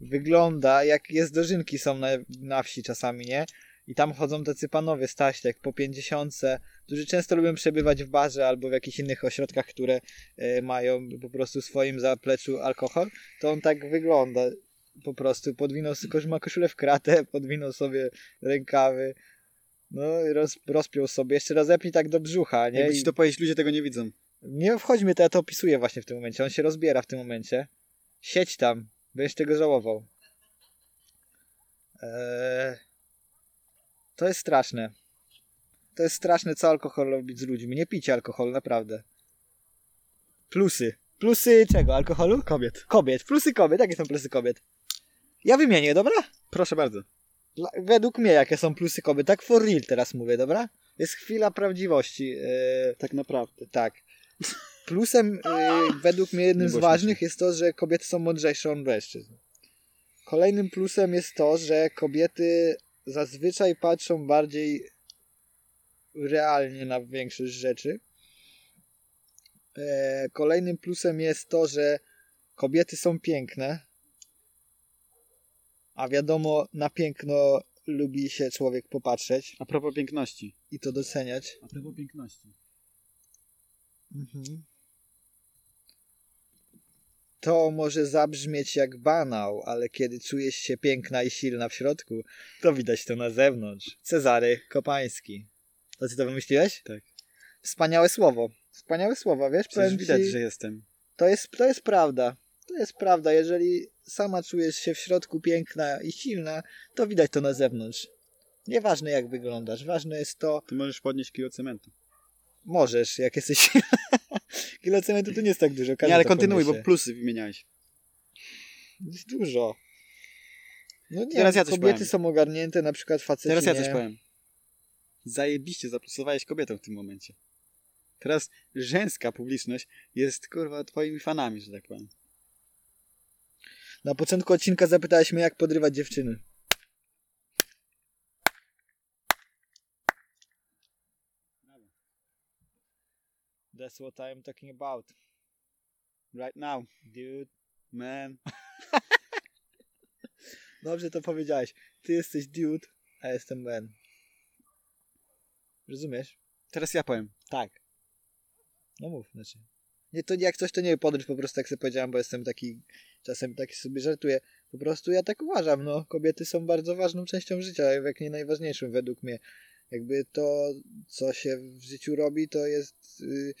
Speaker 2: wygląda jak jest dożynki są na, na wsi czasami, nie? I tam chodzą tacy panowie staślek po pięćdziesiątce, którzy często lubią przebywać w barze albo w jakichś innych ośrodkach, które e, mają po prostu w swoim zapleczu alkohol. To on tak wygląda po prostu. Podwinął, tylko że ma koszulę w kratę, podwinął sobie rękawy. No i roz, rozpiął sobie. Jeszcze rozepnij tak do brzucha, nie?
Speaker 1: Jakby
Speaker 2: I-
Speaker 1: ci to powiedzieć, ludzie tego nie widzą.
Speaker 2: nie wchodźmy, to ja to opisuję właśnie w tym momencie. On się rozbiera w tym momencie. Siedź tam, będziesz tego żałował. Eee, to jest straszne. To jest straszne, co alkohol robić z ludźmi. Nie picie alkoholu, naprawdę. Plusy. Plusy czego? Alkoholu?
Speaker 1: Kobiet.
Speaker 2: Kobiet. Plusy kobiet. Jakie są plusy kobiet? Ja wymienię, dobra?
Speaker 1: Proszę bardzo.
Speaker 2: Dla, według mnie, jakie są plusy kobiet. Tak for real teraz mówię, dobra? Jest chwila prawdziwości. Eee,
Speaker 1: Tak naprawdę.
Speaker 2: tak. Plusem y, według mnie jednym
Speaker 1: Nie
Speaker 2: z
Speaker 1: głośno
Speaker 2: ważnych jest to, że kobiety są mądrzejsze od mężczyzn. Kolejnym plusem jest to, że kobiety zazwyczaj patrzą bardziej realnie na większość rzeczy. E, Kolejnym plusem jest to, że kobiety są piękne, a wiadomo, na piękno lubi się człowiek popatrzeć
Speaker 1: A propos piękności.
Speaker 2: i to doceniać.
Speaker 1: A propos piękności.
Speaker 2: Mhm. To może zabrzmieć jak banał, ale kiedy czujesz się piękna i silna w środku, to widać to na zewnątrz. Cezary Kopański. To ty to wymyśliłeś?
Speaker 1: Tak.
Speaker 2: Wspaniałe słowo. Wspaniałe słowa, wiesz?
Speaker 1: Przecież
Speaker 2: powiem ci-
Speaker 1: widać, że jestem.
Speaker 2: To jest, to jest prawda. To jest prawda. Jeżeli sama czujesz się w środku piękna i silna, to widać to na zewnątrz. Nieważne jak wyglądasz, ważne jest to,
Speaker 1: Ty możesz podnieść kilo cementu.
Speaker 2: możesz, jak jesteś silna. Kilo cementu to nie jest tak dużo. każdy
Speaker 1: Nie, ale
Speaker 2: to
Speaker 1: kontynuuj, bo
Speaker 2: podniesie.
Speaker 1: plusy wymieniałeś.
Speaker 2: Jest dużo. No nie,
Speaker 1: Teraz ja coś
Speaker 2: kobiety
Speaker 1: powiem.
Speaker 2: są ogarnięte, na przykład faceci
Speaker 1: Teraz ja
Speaker 2: nie.
Speaker 1: coś powiem. Zajebiście zaplusowałeś kobietą w tym momencie. Teraz żeńska publiczność jest kurwa twoimi fanami, że tak powiem.
Speaker 2: Na początku odcinka zapytałeś mnie, jak podrywać dziewczyny. That's what I'm talking about,
Speaker 1: Right now,
Speaker 2: dude.
Speaker 1: man.
Speaker 2: Dobrze to powiedziałeś. Ty jesteś dude, a ja jestem man. Rozumiesz?
Speaker 1: Teraz ja powiem.
Speaker 2: Tak. No mów, znaczy. Nie, to jak coś, to nie podryw po prostu, jak sobie powiedziałem, bo jestem taki, czasem taki sobie żartuję. Po prostu ja tak uważam, no. Kobiety są bardzo ważną częścią życia, jak nie najważniejszą według mnie. Jakby to, co się w życiu robi, to jest, y,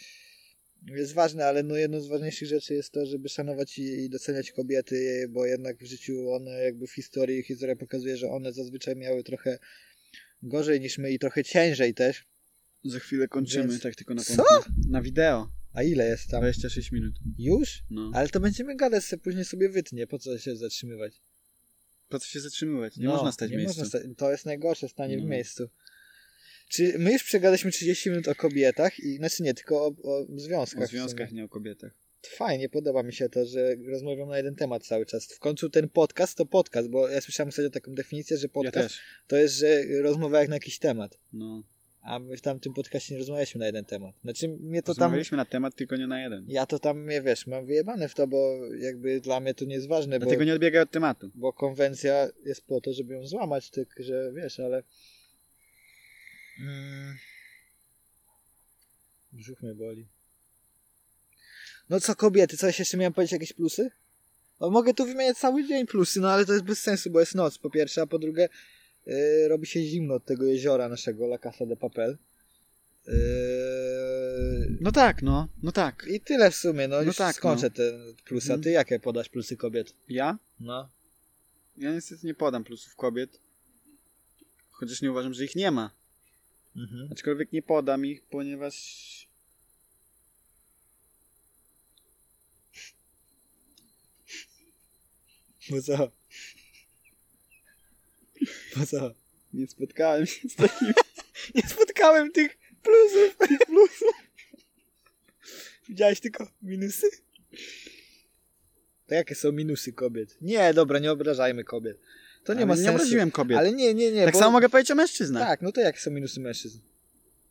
Speaker 2: jest ważne, ale no jedną z ważniejszych rzeczy jest to, żeby szanować i, i doceniać kobiety, bo jednak w życiu one jakby w historii, historia pokazuje, że one zazwyczaj miały trochę gorzej niż my i trochę ciężej też.
Speaker 1: Za chwilę kończymy,
Speaker 2: Więc-
Speaker 1: tak tylko na
Speaker 2: Co?
Speaker 1: Na wideo.
Speaker 2: A ile jest tam?
Speaker 1: 26 minut.
Speaker 2: Już?
Speaker 1: No.
Speaker 2: Ale to będziemy gadać sobie, później sobie wytnie, po co się zatrzymywać.
Speaker 1: Po co się zatrzymywać? Nie
Speaker 2: No,
Speaker 1: można stać w
Speaker 2: nie
Speaker 1: miejscu.
Speaker 2: można sta- to jest najgorsze, stanie w
Speaker 1: No.
Speaker 2: miejscu. Czy my już przegadaliśmy 30 minut o kobietach i, znaczy nie, tylko o, o związkach.
Speaker 1: O
Speaker 2: w sumie.
Speaker 1: związkach, nie o kobietach.
Speaker 2: Fajnie, podoba mi się to, że rozmawiam na jeden temat cały czas. W końcu ten podcast to podcast, bo ja słyszałem ostatnio taką definicję, że
Speaker 1: Ja
Speaker 2: podcast
Speaker 1: też.
Speaker 2: to jest, że rozmowa jak na jakiś temat.
Speaker 1: No.
Speaker 2: A my w tamtym podcaście nie rozmawialiśmy na jeden temat. Znaczy mnie to
Speaker 1: To
Speaker 2: tam...
Speaker 1: Rozmawialiśmy na temat, tylko nie na jeden.
Speaker 2: Ja to tam, nie wiesz, mam wyjebane w to, bo jakby dla mnie to nie jest ważne, bo...
Speaker 1: Dlatego nie odbiegaj od tematu.
Speaker 2: bo konwencja jest po to, żeby ją złamać, tylko że wiesz, ale. Mm. Brzuch mnie boli. No co kobiety, coś jeszcze miałem powiedzieć, jakieś plusy? No, mogę tu wymieniać cały dzień plusy, no ale to jest bez sensu, bo jest noc po pierwsze, a po drugie yy, robi się zimno od tego jeziora naszego, La Casa de Papel. Yy,
Speaker 1: No tak, no. No tak.
Speaker 2: I tyle w sumie, no,
Speaker 1: No
Speaker 2: już
Speaker 1: tak,
Speaker 2: skończę te plusy. A
Speaker 1: Mhm.
Speaker 2: ty jakie podasz plusy kobiet?
Speaker 1: Ja?
Speaker 2: No.
Speaker 1: Ja niestety nie podam plusów kobiet. Chociaż nie uważam, że ich nie ma.
Speaker 2: Mhm.
Speaker 1: Aczkolwiek nie podam ich, ponieważ.
Speaker 2: Bo co? Bo co?
Speaker 1: Nie spotkałem się z
Speaker 2: Nie spotkałem tych plusów, tych plusów. Widziałeś tylko minusy? To jakie są minusy kobiet? Nie, dobra, nie obrażajmy kobiet. To nie
Speaker 1: Ale
Speaker 2: ma sensu.
Speaker 1: Nie obraziłem kobiet.
Speaker 2: Ale nie, nie, nie.
Speaker 1: tak
Speaker 2: bo-
Speaker 1: samo mogę powiedzieć o mężczyznach.
Speaker 2: Tak, no to jakie są minusy mężczyzn?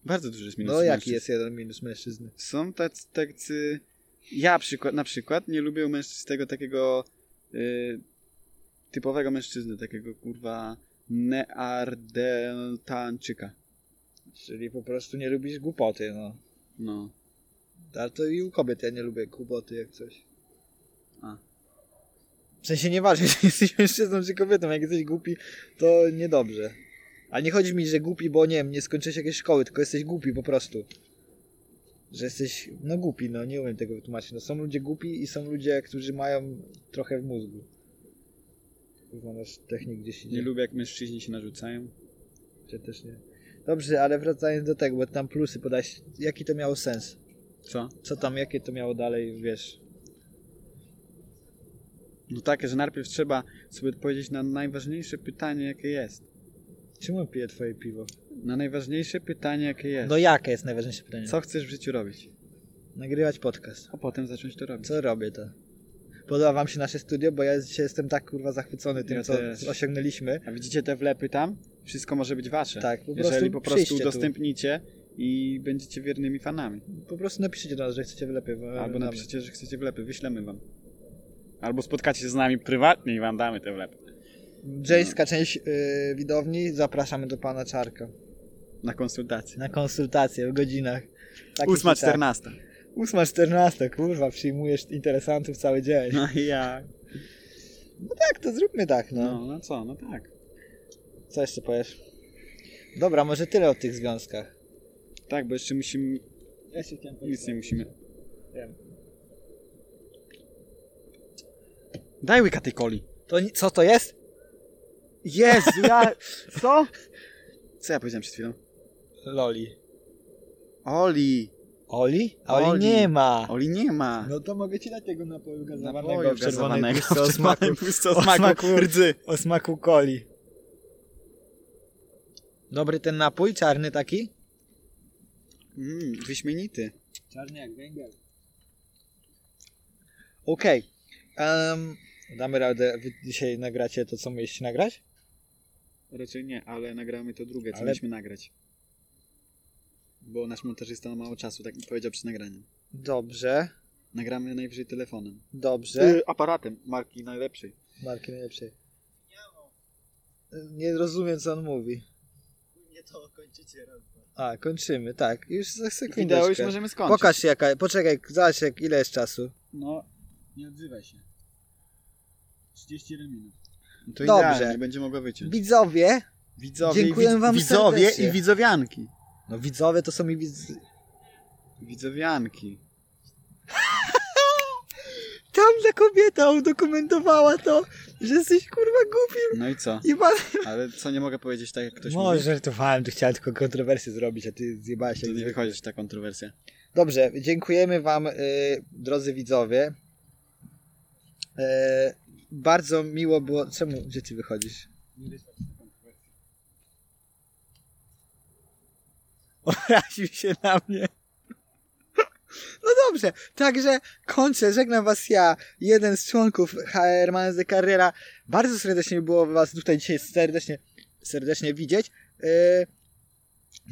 Speaker 1: Bardzo dużo jest minusów.
Speaker 2: no jaki
Speaker 1: mężczyzn.
Speaker 2: jest jeden minus mężczyzny?
Speaker 1: Są tacy. tacy... Ja przykład, na przykład nie lubię u mężczyzn tego takiego y, typowego mężczyzny, takiego kurwa neardeltańczyka.
Speaker 2: Czyli po prostu nie lubisz głupoty, no.
Speaker 1: No.
Speaker 2: Ale to i u kobiet ja nie lubię głupoty jak coś.
Speaker 1: A.
Speaker 2: W sensie nieważne, czy jesteś mężczyzną czy kobietą, jak jesteś głupi, to niedobrze. A nie chodzi mi, że głupi, bo nie wiem, nie skończyłeś jakiejś szkoły, tylko jesteś głupi po prostu. Że jesteś, no głupi, no nie umiem tego wytłumaczyć. No są ludzie głupi i są ludzie, którzy mają trochę w mózgu. Kurwa, nasz technik gdzieś
Speaker 1: Nie
Speaker 2: idzie.
Speaker 1: lubię jak mężczyźni się narzucają.
Speaker 2: Czy też nie. Dobrze, ale wracając do tego, bo tam plusy podać, jaki to miało sens?
Speaker 1: Co?
Speaker 2: Co tam, jakie to miało dalej, wiesz,
Speaker 1: No takie, że najpierw trzeba sobie odpowiedzieć na najważniejsze pytanie, jakie jest.
Speaker 2: Czemu on pije twoje piwo?
Speaker 1: Na najważniejsze pytanie, jakie jest.
Speaker 2: No jakie jest najważniejsze pytanie?
Speaker 1: Co chcesz w życiu robić?
Speaker 2: Nagrywać podcast.
Speaker 1: A potem zacząć to robić.
Speaker 2: Co robię to? Podoba wam się nasze studio, bo ja dzisiaj jestem tak kurwa zachwycony tym,
Speaker 1: Ja
Speaker 2: co
Speaker 1: też.
Speaker 2: osiągnęliśmy.
Speaker 1: A widzicie te wlepy tam? Wszystko może być wasze.
Speaker 2: Tak, po prostu
Speaker 1: Jeżeli po prostu
Speaker 2: przyjdźcie tu.
Speaker 1: udostępnicie i będziecie wiernymi fanami.
Speaker 2: Po prostu napiszcie do nas, że chcecie wylepy.
Speaker 1: Albo napiszecie, że chcecie wlepy, wyślemy wam. Albo spotkacie się z nami prywatnie i wam damy te wlepy.
Speaker 2: Jejska część y, widowni, zapraszamy do pana Czarka.
Speaker 1: na konsultację.
Speaker 2: Na konsultację w godzinach. Takich i
Speaker 1: Ósma,
Speaker 2: No, tak.
Speaker 1: czternasta.
Speaker 2: 8.14, kurwa, przyjmujesz interesantów cały dzień.
Speaker 1: No i jak?
Speaker 2: Tak, to zróbmy tak, no.
Speaker 1: No, no co, no tak.
Speaker 2: Co jeszcze powiesz? Dobra, może tyle o tych związkach.
Speaker 1: Tak, bo jeszcze musimy,
Speaker 4: Ja się chciałem powiedzieć.
Speaker 1: nic nie musimy.
Speaker 4: Wiem.
Speaker 1: Daj łyka tej coli.
Speaker 2: To ni- co to jest?
Speaker 1: Jezu, ja... Co? Co ja powiedziałem przed chwilą?
Speaker 2: Loli.
Speaker 1: Oli.
Speaker 2: Oli? Oli,
Speaker 1: Oli.
Speaker 2: nie ma.
Speaker 1: Oli nie ma.
Speaker 4: No to mogę ci dać tego napoju gazowanego.
Speaker 1: Napoju
Speaker 2: w czerwonej
Speaker 1: gazowanego,
Speaker 2: puszce
Speaker 1: w czerwonej puszce
Speaker 2: o smaku- o
Speaker 1: o smaku
Speaker 2: smaku-
Speaker 1: rdzy.
Speaker 2: O smaku coli. Dobry ten napój, czarny taki?
Speaker 1: Mm, wyśmienity.
Speaker 4: Czarny jak węgiel.
Speaker 2: Okej. Em, damy radę, wy dzisiaj nagracie to, co mieliście nagrać?
Speaker 1: Raczej nie, ale nagramy to drugie, co
Speaker 2: Ale-
Speaker 1: mieliśmy nagrać. Bo nasz montażysta ma mało czasu, tak mi powiedział przy nagraniu.
Speaker 2: Dobrze,
Speaker 1: Nagramy najwyżej telefonem.
Speaker 2: dobrze.
Speaker 1: Y, aparatem marki najlepszej.
Speaker 2: Marki najlepszej. Nie rozumiem, co on mówi.
Speaker 4: Nie to kończycie raz.
Speaker 2: A, kończymy, tak. Już za sekundeczkę.
Speaker 1: Wideo już możemy skończyć.
Speaker 2: Pokaż jaka, poczekaj, zobacz jak, ile jest czasu.
Speaker 4: No, nie odzywaj się. 31 minut.
Speaker 1: No To
Speaker 2: Dobrze.
Speaker 1: Dobrze. Nie będzie mogła wyciąć.
Speaker 2: Widzowie.
Speaker 1: Widzowie,
Speaker 2: Dziękuję
Speaker 1: i widz-
Speaker 2: wam
Speaker 1: widzowie
Speaker 2: serdecznie.
Speaker 1: i widzowianki.
Speaker 2: No widzowie to są i widz...
Speaker 1: Widzowianki.
Speaker 2: Tam ta kobieta udokumentowała to, że jesteś kurwa głupim
Speaker 1: No i co?
Speaker 2: i ma... No,
Speaker 1: Ale co nie mogę powiedzieć tak jak ktoś
Speaker 3: Może
Speaker 1: mówi?
Speaker 3: żartowałem, tu chciałem tylko
Speaker 2: Kontrowersję zrobić, a ty zjebałeś
Speaker 1: To
Speaker 2: jak
Speaker 1: nie
Speaker 2: zwykle.
Speaker 1: wychodzisz ta kontrowersja.
Speaker 2: Dobrze, dziękujemy wam y, drodzy widzowie. Y, bardzo miło było... Czemu? Gdzie ty wychodzisz? Obraził się na mnie. No dobrze, także kończę, żegnam was ja, jeden z członków HR Manes de Carrera. Bardzo serdecznie mi było was tutaj dzisiaj serdecznie, serdecznie widzieć. Y,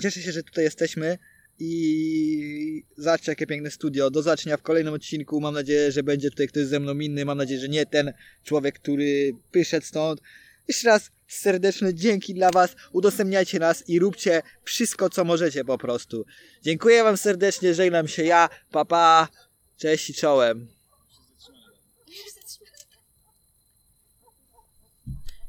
Speaker 2: Cieszę się, że tutaj jesteśmy i zobaczcie jakie piękne studio. Do zobaczenia w kolejnym odcinku. Mam nadzieję, że będzie tutaj ktoś ze mną inny. Mam nadzieję, że nie ten człowiek, który wyszedł stąd. Jeszcze raz serdeczne dzięki dla Was. Udostępniajcie nas i róbcie wszystko, co możecie po prostu. Dziękuję Wam serdecznie. Żegnam się ja. Papa. Pa. Cześć i czołem.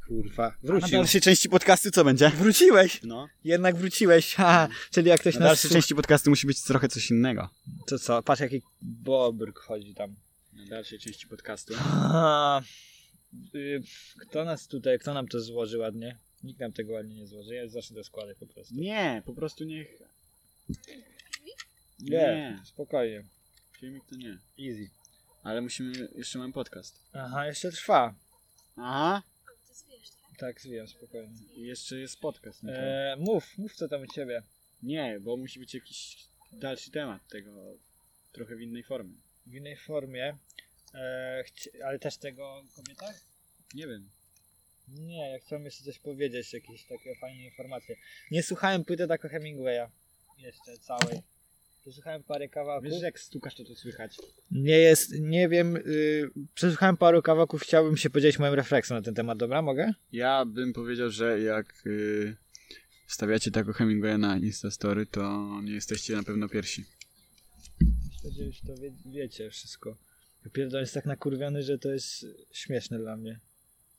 Speaker 2: Kurwa.
Speaker 1: Na
Speaker 2: Wrócił.
Speaker 1: dalszej części podcastu co będzie?
Speaker 2: Wróciłeś.
Speaker 1: No.
Speaker 2: Jednak wróciłeś. Ha, czyli jak ktoś
Speaker 1: Na
Speaker 2: nas...
Speaker 1: dalszej części podcastu musi być trochę coś innego.
Speaker 2: To co? Patrz jaki bobrk chodzi tam.
Speaker 1: Na dalszej części podcastu.
Speaker 2: A, y, Kto nas tutaj, kto nam to złoży ładnie? Nikt nam tego ładnie nie złoży. Ja zawsze do składek po prostu.
Speaker 1: Nie, po prostu niech...
Speaker 2: Nie,
Speaker 1: Nie.
Speaker 2: spokojnie.
Speaker 1: Filmik to nie.
Speaker 2: Easy.
Speaker 1: Ale musimy... Jeszcze mamy podcast.
Speaker 2: Aha, jeszcze trwa.
Speaker 1: Aha.
Speaker 2: Tak, wiem, spokojnie.
Speaker 1: I jeszcze jest podcast. na to.
Speaker 2: E, mów, mów co tam u ciebie.
Speaker 1: Nie, bo musi być jakiś dalszy temat tego. Trochę w innej formie.
Speaker 2: W innej formie. E, chci- ale też tego o kobietach?
Speaker 1: Nie wiem.
Speaker 2: Nie, ja chciałem jeszcze coś powiedzieć, jakieś takie fajne informacje. Nie słuchałem płyty Taka Hemingwaya. Jeszcze całej. Posłuchałem parę kawałków.
Speaker 1: Wiesz, że jak stukasz, to to słychać.
Speaker 2: Nie jest, nie wiem, y, przesłuchałem paru kawałków, chciałbym się podzielić moim refleksem na ten temat, dobra, mogę?
Speaker 1: Ja bym powiedział, że jak yy, stawiacie taką Hemingwaya na Instastory, to nie jesteście na pewno pierwsi.
Speaker 2: Myślę, że już to wie, wiecie wszystko. Ja Pierdol jest tak nakurwiony, że to jest śmieszne dla mnie.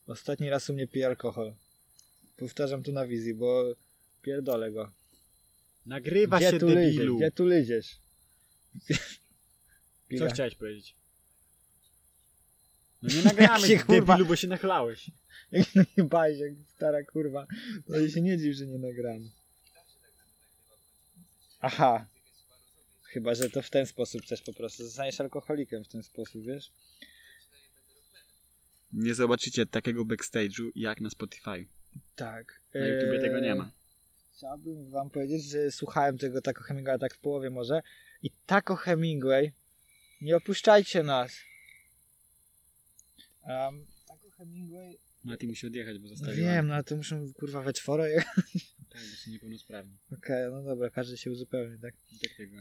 Speaker 2: Ostatni raz u mnie pije alkohol. Powtarzam to na wizji, bo pierdolę go.
Speaker 1: Nagrywa
Speaker 2: Gdzie
Speaker 1: się
Speaker 2: tu lyziesz?
Speaker 1: debilu.
Speaker 2: Gdzie tu lyziesz?
Speaker 1: Co chciałeś powiedzieć? No nie nagramy
Speaker 2: się,
Speaker 1: się,
Speaker 2: kurwa-
Speaker 1: debilu, bo się nachlałeś.
Speaker 2: Bajś, jak stara kurwa. No i się nie dziw, że nie nagram. Aha. Chyba, że to w ten sposób też po prostu. Zostaniesz alkoholikiem w ten sposób, wiesz?
Speaker 1: Nie zobaczycie takiego backstage'u jak na Spotify.
Speaker 2: Tak.
Speaker 1: Na YouTubie tego nie ma.
Speaker 2: Chciałbym wam powiedzieć, że słuchałem tego Taco Hemingwaya tak w połowie może. I Taco Hemingway, nie opuszczajcie nas. Um, Taco Hemingway...
Speaker 1: Mati musi odjechać, bo
Speaker 2: No
Speaker 1: zostawił.
Speaker 2: wiem, no ale to muszą kurwa we czworo je-
Speaker 1: Tak, bo są niepełnosprawni.
Speaker 2: Okej, no dobra, każdy się uzupełni, tak?
Speaker 1: Tak tego.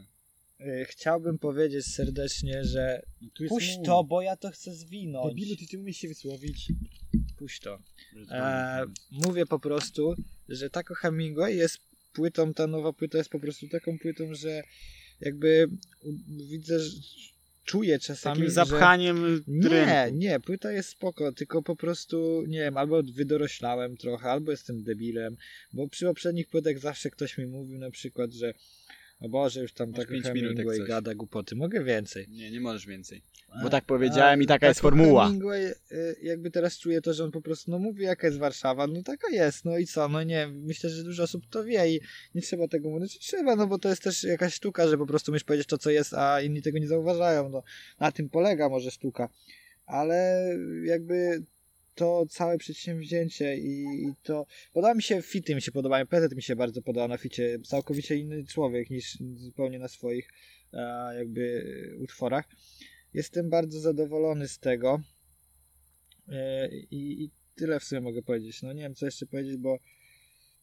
Speaker 2: Y, Chciałbym powiedzieć serdecznie, że
Speaker 1: No tu jest
Speaker 2: puść
Speaker 1: mój.
Speaker 2: to, bo ja to chcę zwinąć.
Speaker 1: Debilu, ty, ty umiesz się wysłowić.
Speaker 2: puść to. E,
Speaker 1: no.
Speaker 2: mówię po prostu, że Taco Hemingway jest płytą, ta nowa płyta jest po prostu taką płytą, że jakby u- widzę, że czuję czasami,
Speaker 1: Takim
Speaker 2: że...
Speaker 1: zapchaniem
Speaker 2: Nie, nie, płyta jest spoko, tylko po prostu, nie wiem, albo wydoroślałem trochę, albo jestem debilem, bo przy poprzednich płytach zawsze ktoś mi mówił na przykład, że o Boże, już tam
Speaker 1: Masz
Speaker 2: tak
Speaker 1: pięć minut, jak
Speaker 2: Hemingway
Speaker 1: coś.
Speaker 2: gada głupoty, mogę więcej.
Speaker 1: Nie, nie możesz więcej.
Speaker 2: A-
Speaker 1: Bo tak powiedziałem i taka jest
Speaker 2: Taco
Speaker 1: formuła.
Speaker 2: Hemingway, y, jakby teraz czuję to, że on po prostu no mówi jaka jest Warszawa, no taka jest, no i co, no nie, myślę, że dużo osób to wie i nie trzeba tego mówić, Znaczy, trzeba, no bo to jest też jakaś sztuka, że po prostu musisz powiedzieć to co jest, a inni tego nie zauważają, no na tym polega może sztuka, ale jakby to całe przedsięwzięcie i, i to, podoba mi się fity, mi się podobają, PZ mi się bardzo podoba na ficie, całkowicie inny człowiek niż zupełnie na swoich e, jakby utworach. Jestem bardzo zadowolony z tego. E, I, I tyle w sumie mogę powiedzieć. No nie wiem, co jeszcze powiedzieć, bo,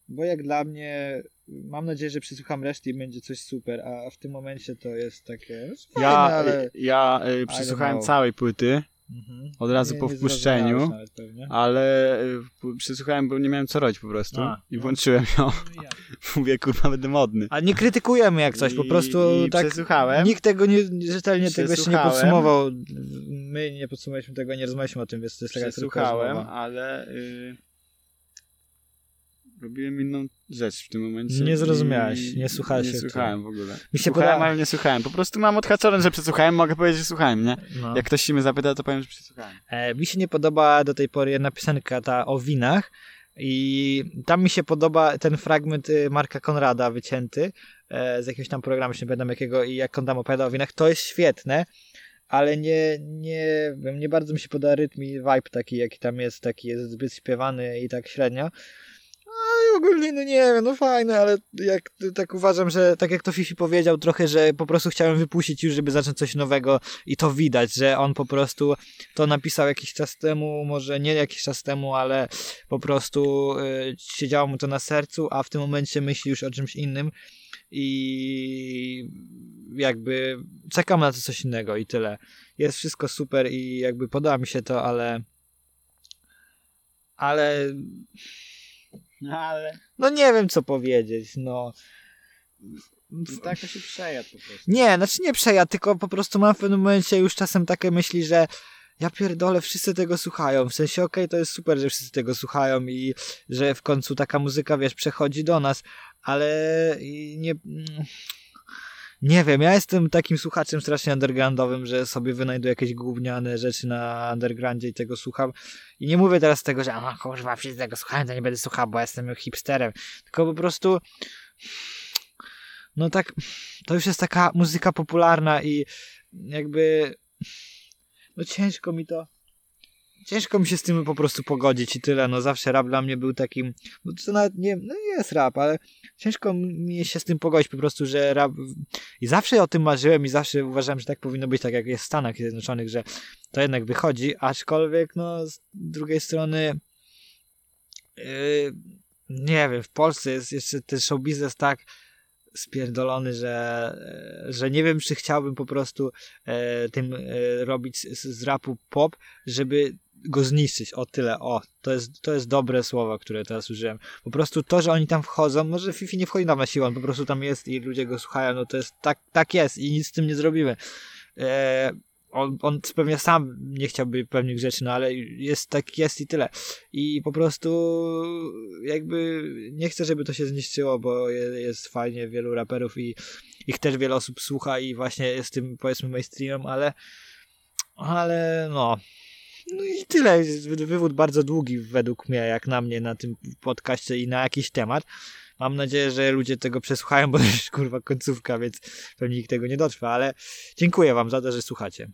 Speaker 2: bo jak dla mnie, mam nadzieję, że przysłucham reszty i będzie coś super, a w tym momencie to jest takie. no, Fajne,
Speaker 1: Ja,
Speaker 2: ale...
Speaker 1: ja y, przysłuchałem
Speaker 2: know.
Speaker 1: całej płyty
Speaker 2: Mhm.
Speaker 1: od razu
Speaker 2: Nie-
Speaker 1: po
Speaker 2: nie
Speaker 1: wpuszczeniu,
Speaker 2: zrozumiałeś no. nawet pewnie.
Speaker 1: ale y, p- przysłuchałem, bo nie miałem co robić po prostu
Speaker 2: A,
Speaker 1: i włączyłem ją.
Speaker 4: No i ja.
Speaker 1: Mówię, kurwa, będę modny.
Speaker 2: A nie krytykujemy jak coś, po
Speaker 1: I-
Speaker 2: prostu
Speaker 1: i
Speaker 2: tak.
Speaker 1: przesłuchałem.
Speaker 2: Nikt tego nie, rzetelnie tego jeszcze nie
Speaker 1: Przesłuchałem.
Speaker 2: podsumował. My nie podsumowaliśmy tego, nie rozmawialiśmy o tym, więc to jest taka
Speaker 1: Przesłuchałem,
Speaker 2: tylko
Speaker 1: ale y, robiłem inną rzecz w tym momencie.
Speaker 2: Nie zrozumiałeś,
Speaker 1: i-
Speaker 2: nie słuchałeś się
Speaker 1: Nie słuchałem w ogóle.
Speaker 2: Mi się
Speaker 1: słuchałem,
Speaker 2: podoba-
Speaker 1: ale nie słuchałem. Po prostu mam odhaczone, że przesłuchałem, mogę powiedzieć, że słuchałem, nie?
Speaker 2: rozmowa. No.
Speaker 1: Jak ktoś się mnie zapyta, to powiem, że przesłuchałem.
Speaker 2: E, Mi się nie podoba do tej pory jedna piosenka ta o winach i tam mi się podoba ten fragment y, Marka Konrada wycięty e, z jakiegoś tam programu, już nie pamiętam jakiego i jak on tam opowiada o winach, to jest świetne, ale nie, nie wiem, nie bardzo mi się podoba rytm i vibe taki jaki tam jest, taki jest zbyt śpiewany i tak średnio. A ogólnie, no nie wiem, no fajne, ale jak, tak uważam, że tak jak to Fifi powiedział trochę, że po prostu chciałem wypuścić już, żeby zacząć coś nowego i to widać, że on po prostu to napisał jakiś czas temu, może nie jakiś czas temu, ale po prostu y, siedziało mu to na sercu, a w tym momencie myśli już o czymś innym i jakby czekam na to coś innego i tyle. Jest wszystko super i jakby podoba mi się to, ale ale
Speaker 1: Ale
Speaker 2: no nie wiem co powiedzieć, no.
Speaker 1: tak się przejadł po prostu.
Speaker 2: Nie, znaczy nie przeja, tylko po prostu mam w pewnym momencie już czasem takie myśli, że ja pierdolę, wszyscy tego słuchają. W sensie, okej, to jest super, że wszyscy tego słuchają i że w końcu taka muzyka, wiesz, przechodzi do nas, ale i nie... mm, Nie wiem, ja jestem takim słuchaczem strasznie undergroundowym, że sobie wynajduję jakieś gówniane rzeczy na undergroundzie i tego słucham. I nie mówię teraz tego, że a kurwa, wszyscy tego słuchają, to nie będę słuchał, bo jestem hipsterem. Tylko po prostu... No tak, to już jest taka muzyka popularna i jakby no ciężko mi to ciężko mi się z tym po prostu pogodzić i tyle, no zawsze rap dla mnie był takim no to nawet nie, no jest rap, ale ciężko mi się z tym pogodzić po prostu, że rap i zawsze o tym marzyłem i zawsze uważałem, że tak powinno być, tak jak jest w Stanach Zjednoczonych, że to jednak wychodzi, aczkolwiek no z drugiej strony yy, nie wiem, w Polsce jest jeszcze ten show biznes tak spierdolony, że, e, że nie wiem, czy chciałbym po prostu e, tym e, robić z, z rapu pop, żeby go zniszczyć. O tyle, o, to jest, to jest dobre słowo, które teraz użyłem. Po prostu to, że oni tam wchodzą, może Fifi nie wchodzi tam na siłę, on po prostu tam jest i ludzie go słuchają, no to jest, tak, tak jest i nic z tym nie zrobimy. E, on, on pewnie sam nie chciałby pewnych rzeczy, no ale jest tak jest i tyle. I po prostu jakby nie chcę, żeby to się zniszczyło, bo je- jest fajnie wielu raperów i ich też wiele osób słucha i właśnie jest tym powiedzmy mainstreamem, ale ale no no i tyle, Jest wy- wywód bardzo długi według mnie, jak na mnie na tym podcaście i na jakiś temat. Mam nadzieję, że ludzie tego przesłuchają, bo to już kurwa końcówka, więc pewnie nikt tego nie dotrwa, ale dziękuję wam za to, że słuchacie.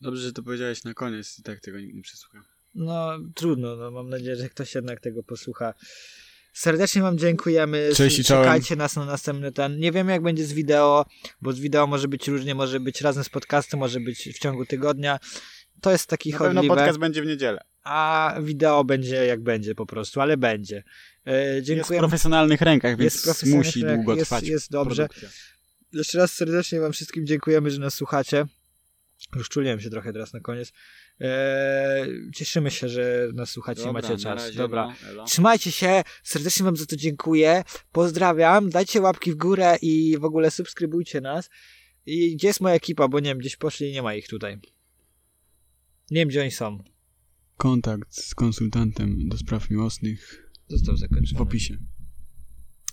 Speaker 1: Dobrze, że to powiedziałeś na koniec i tak tego nikt nie przesłuchał.
Speaker 2: No trudno, no, mam nadzieję, że ktoś jednak tego posłucha. Serdecznie Wam dziękujemy.
Speaker 1: Cześć i czołem.
Speaker 2: Czekajcie nas na następny ten. Nie wiem jak będzie z wideo, bo z wideo może być różnie, może być razem z podcastem, może być w ciągu tygodnia. To jest taki
Speaker 1: Na pewno
Speaker 2: chodliwe,
Speaker 1: podcast będzie w niedzielę.
Speaker 2: a wideo będzie jak będzie po prostu, ale będzie. E,
Speaker 1: Jest w
Speaker 2: dziękujemy.
Speaker 1: profesjonalnych rękach, więc
Speaker 2: profesjonalny
Speaker 1: musi
Speaker 2: projekt,
Speaker 1: długo
Speaker 2: jest,
Speaker 1: trwać.
Speaker 2: Jest dobrze.
Speaker 1: produkcja.
Speaker 2: Jeszcze raz serdecznie Wam wszystkim dziękujemy, że nas słuchacie. Rozczuliłem się trochę teraz na koniec. Eee, cieszymy się, że nas słuchacie i macie czas. Dobra.
Speaker 1: no,
Speaker 2: Trzymajcie się, serdecznie Wam za to dziękuję. Pozdrawiam, dajcie łapki w górę i w ogóle subskrybujcie nas. I gdzie jest moja ekipa? Bo nie wiem, gdzieś poszli i nie ma ich tutaj. Nie wiem, gdzie oni są.
Speaker 5: Kontakt z konsultantem do spraw miłosnych
Speaker 2: Został zakończony.
Speaker 5: w opisie.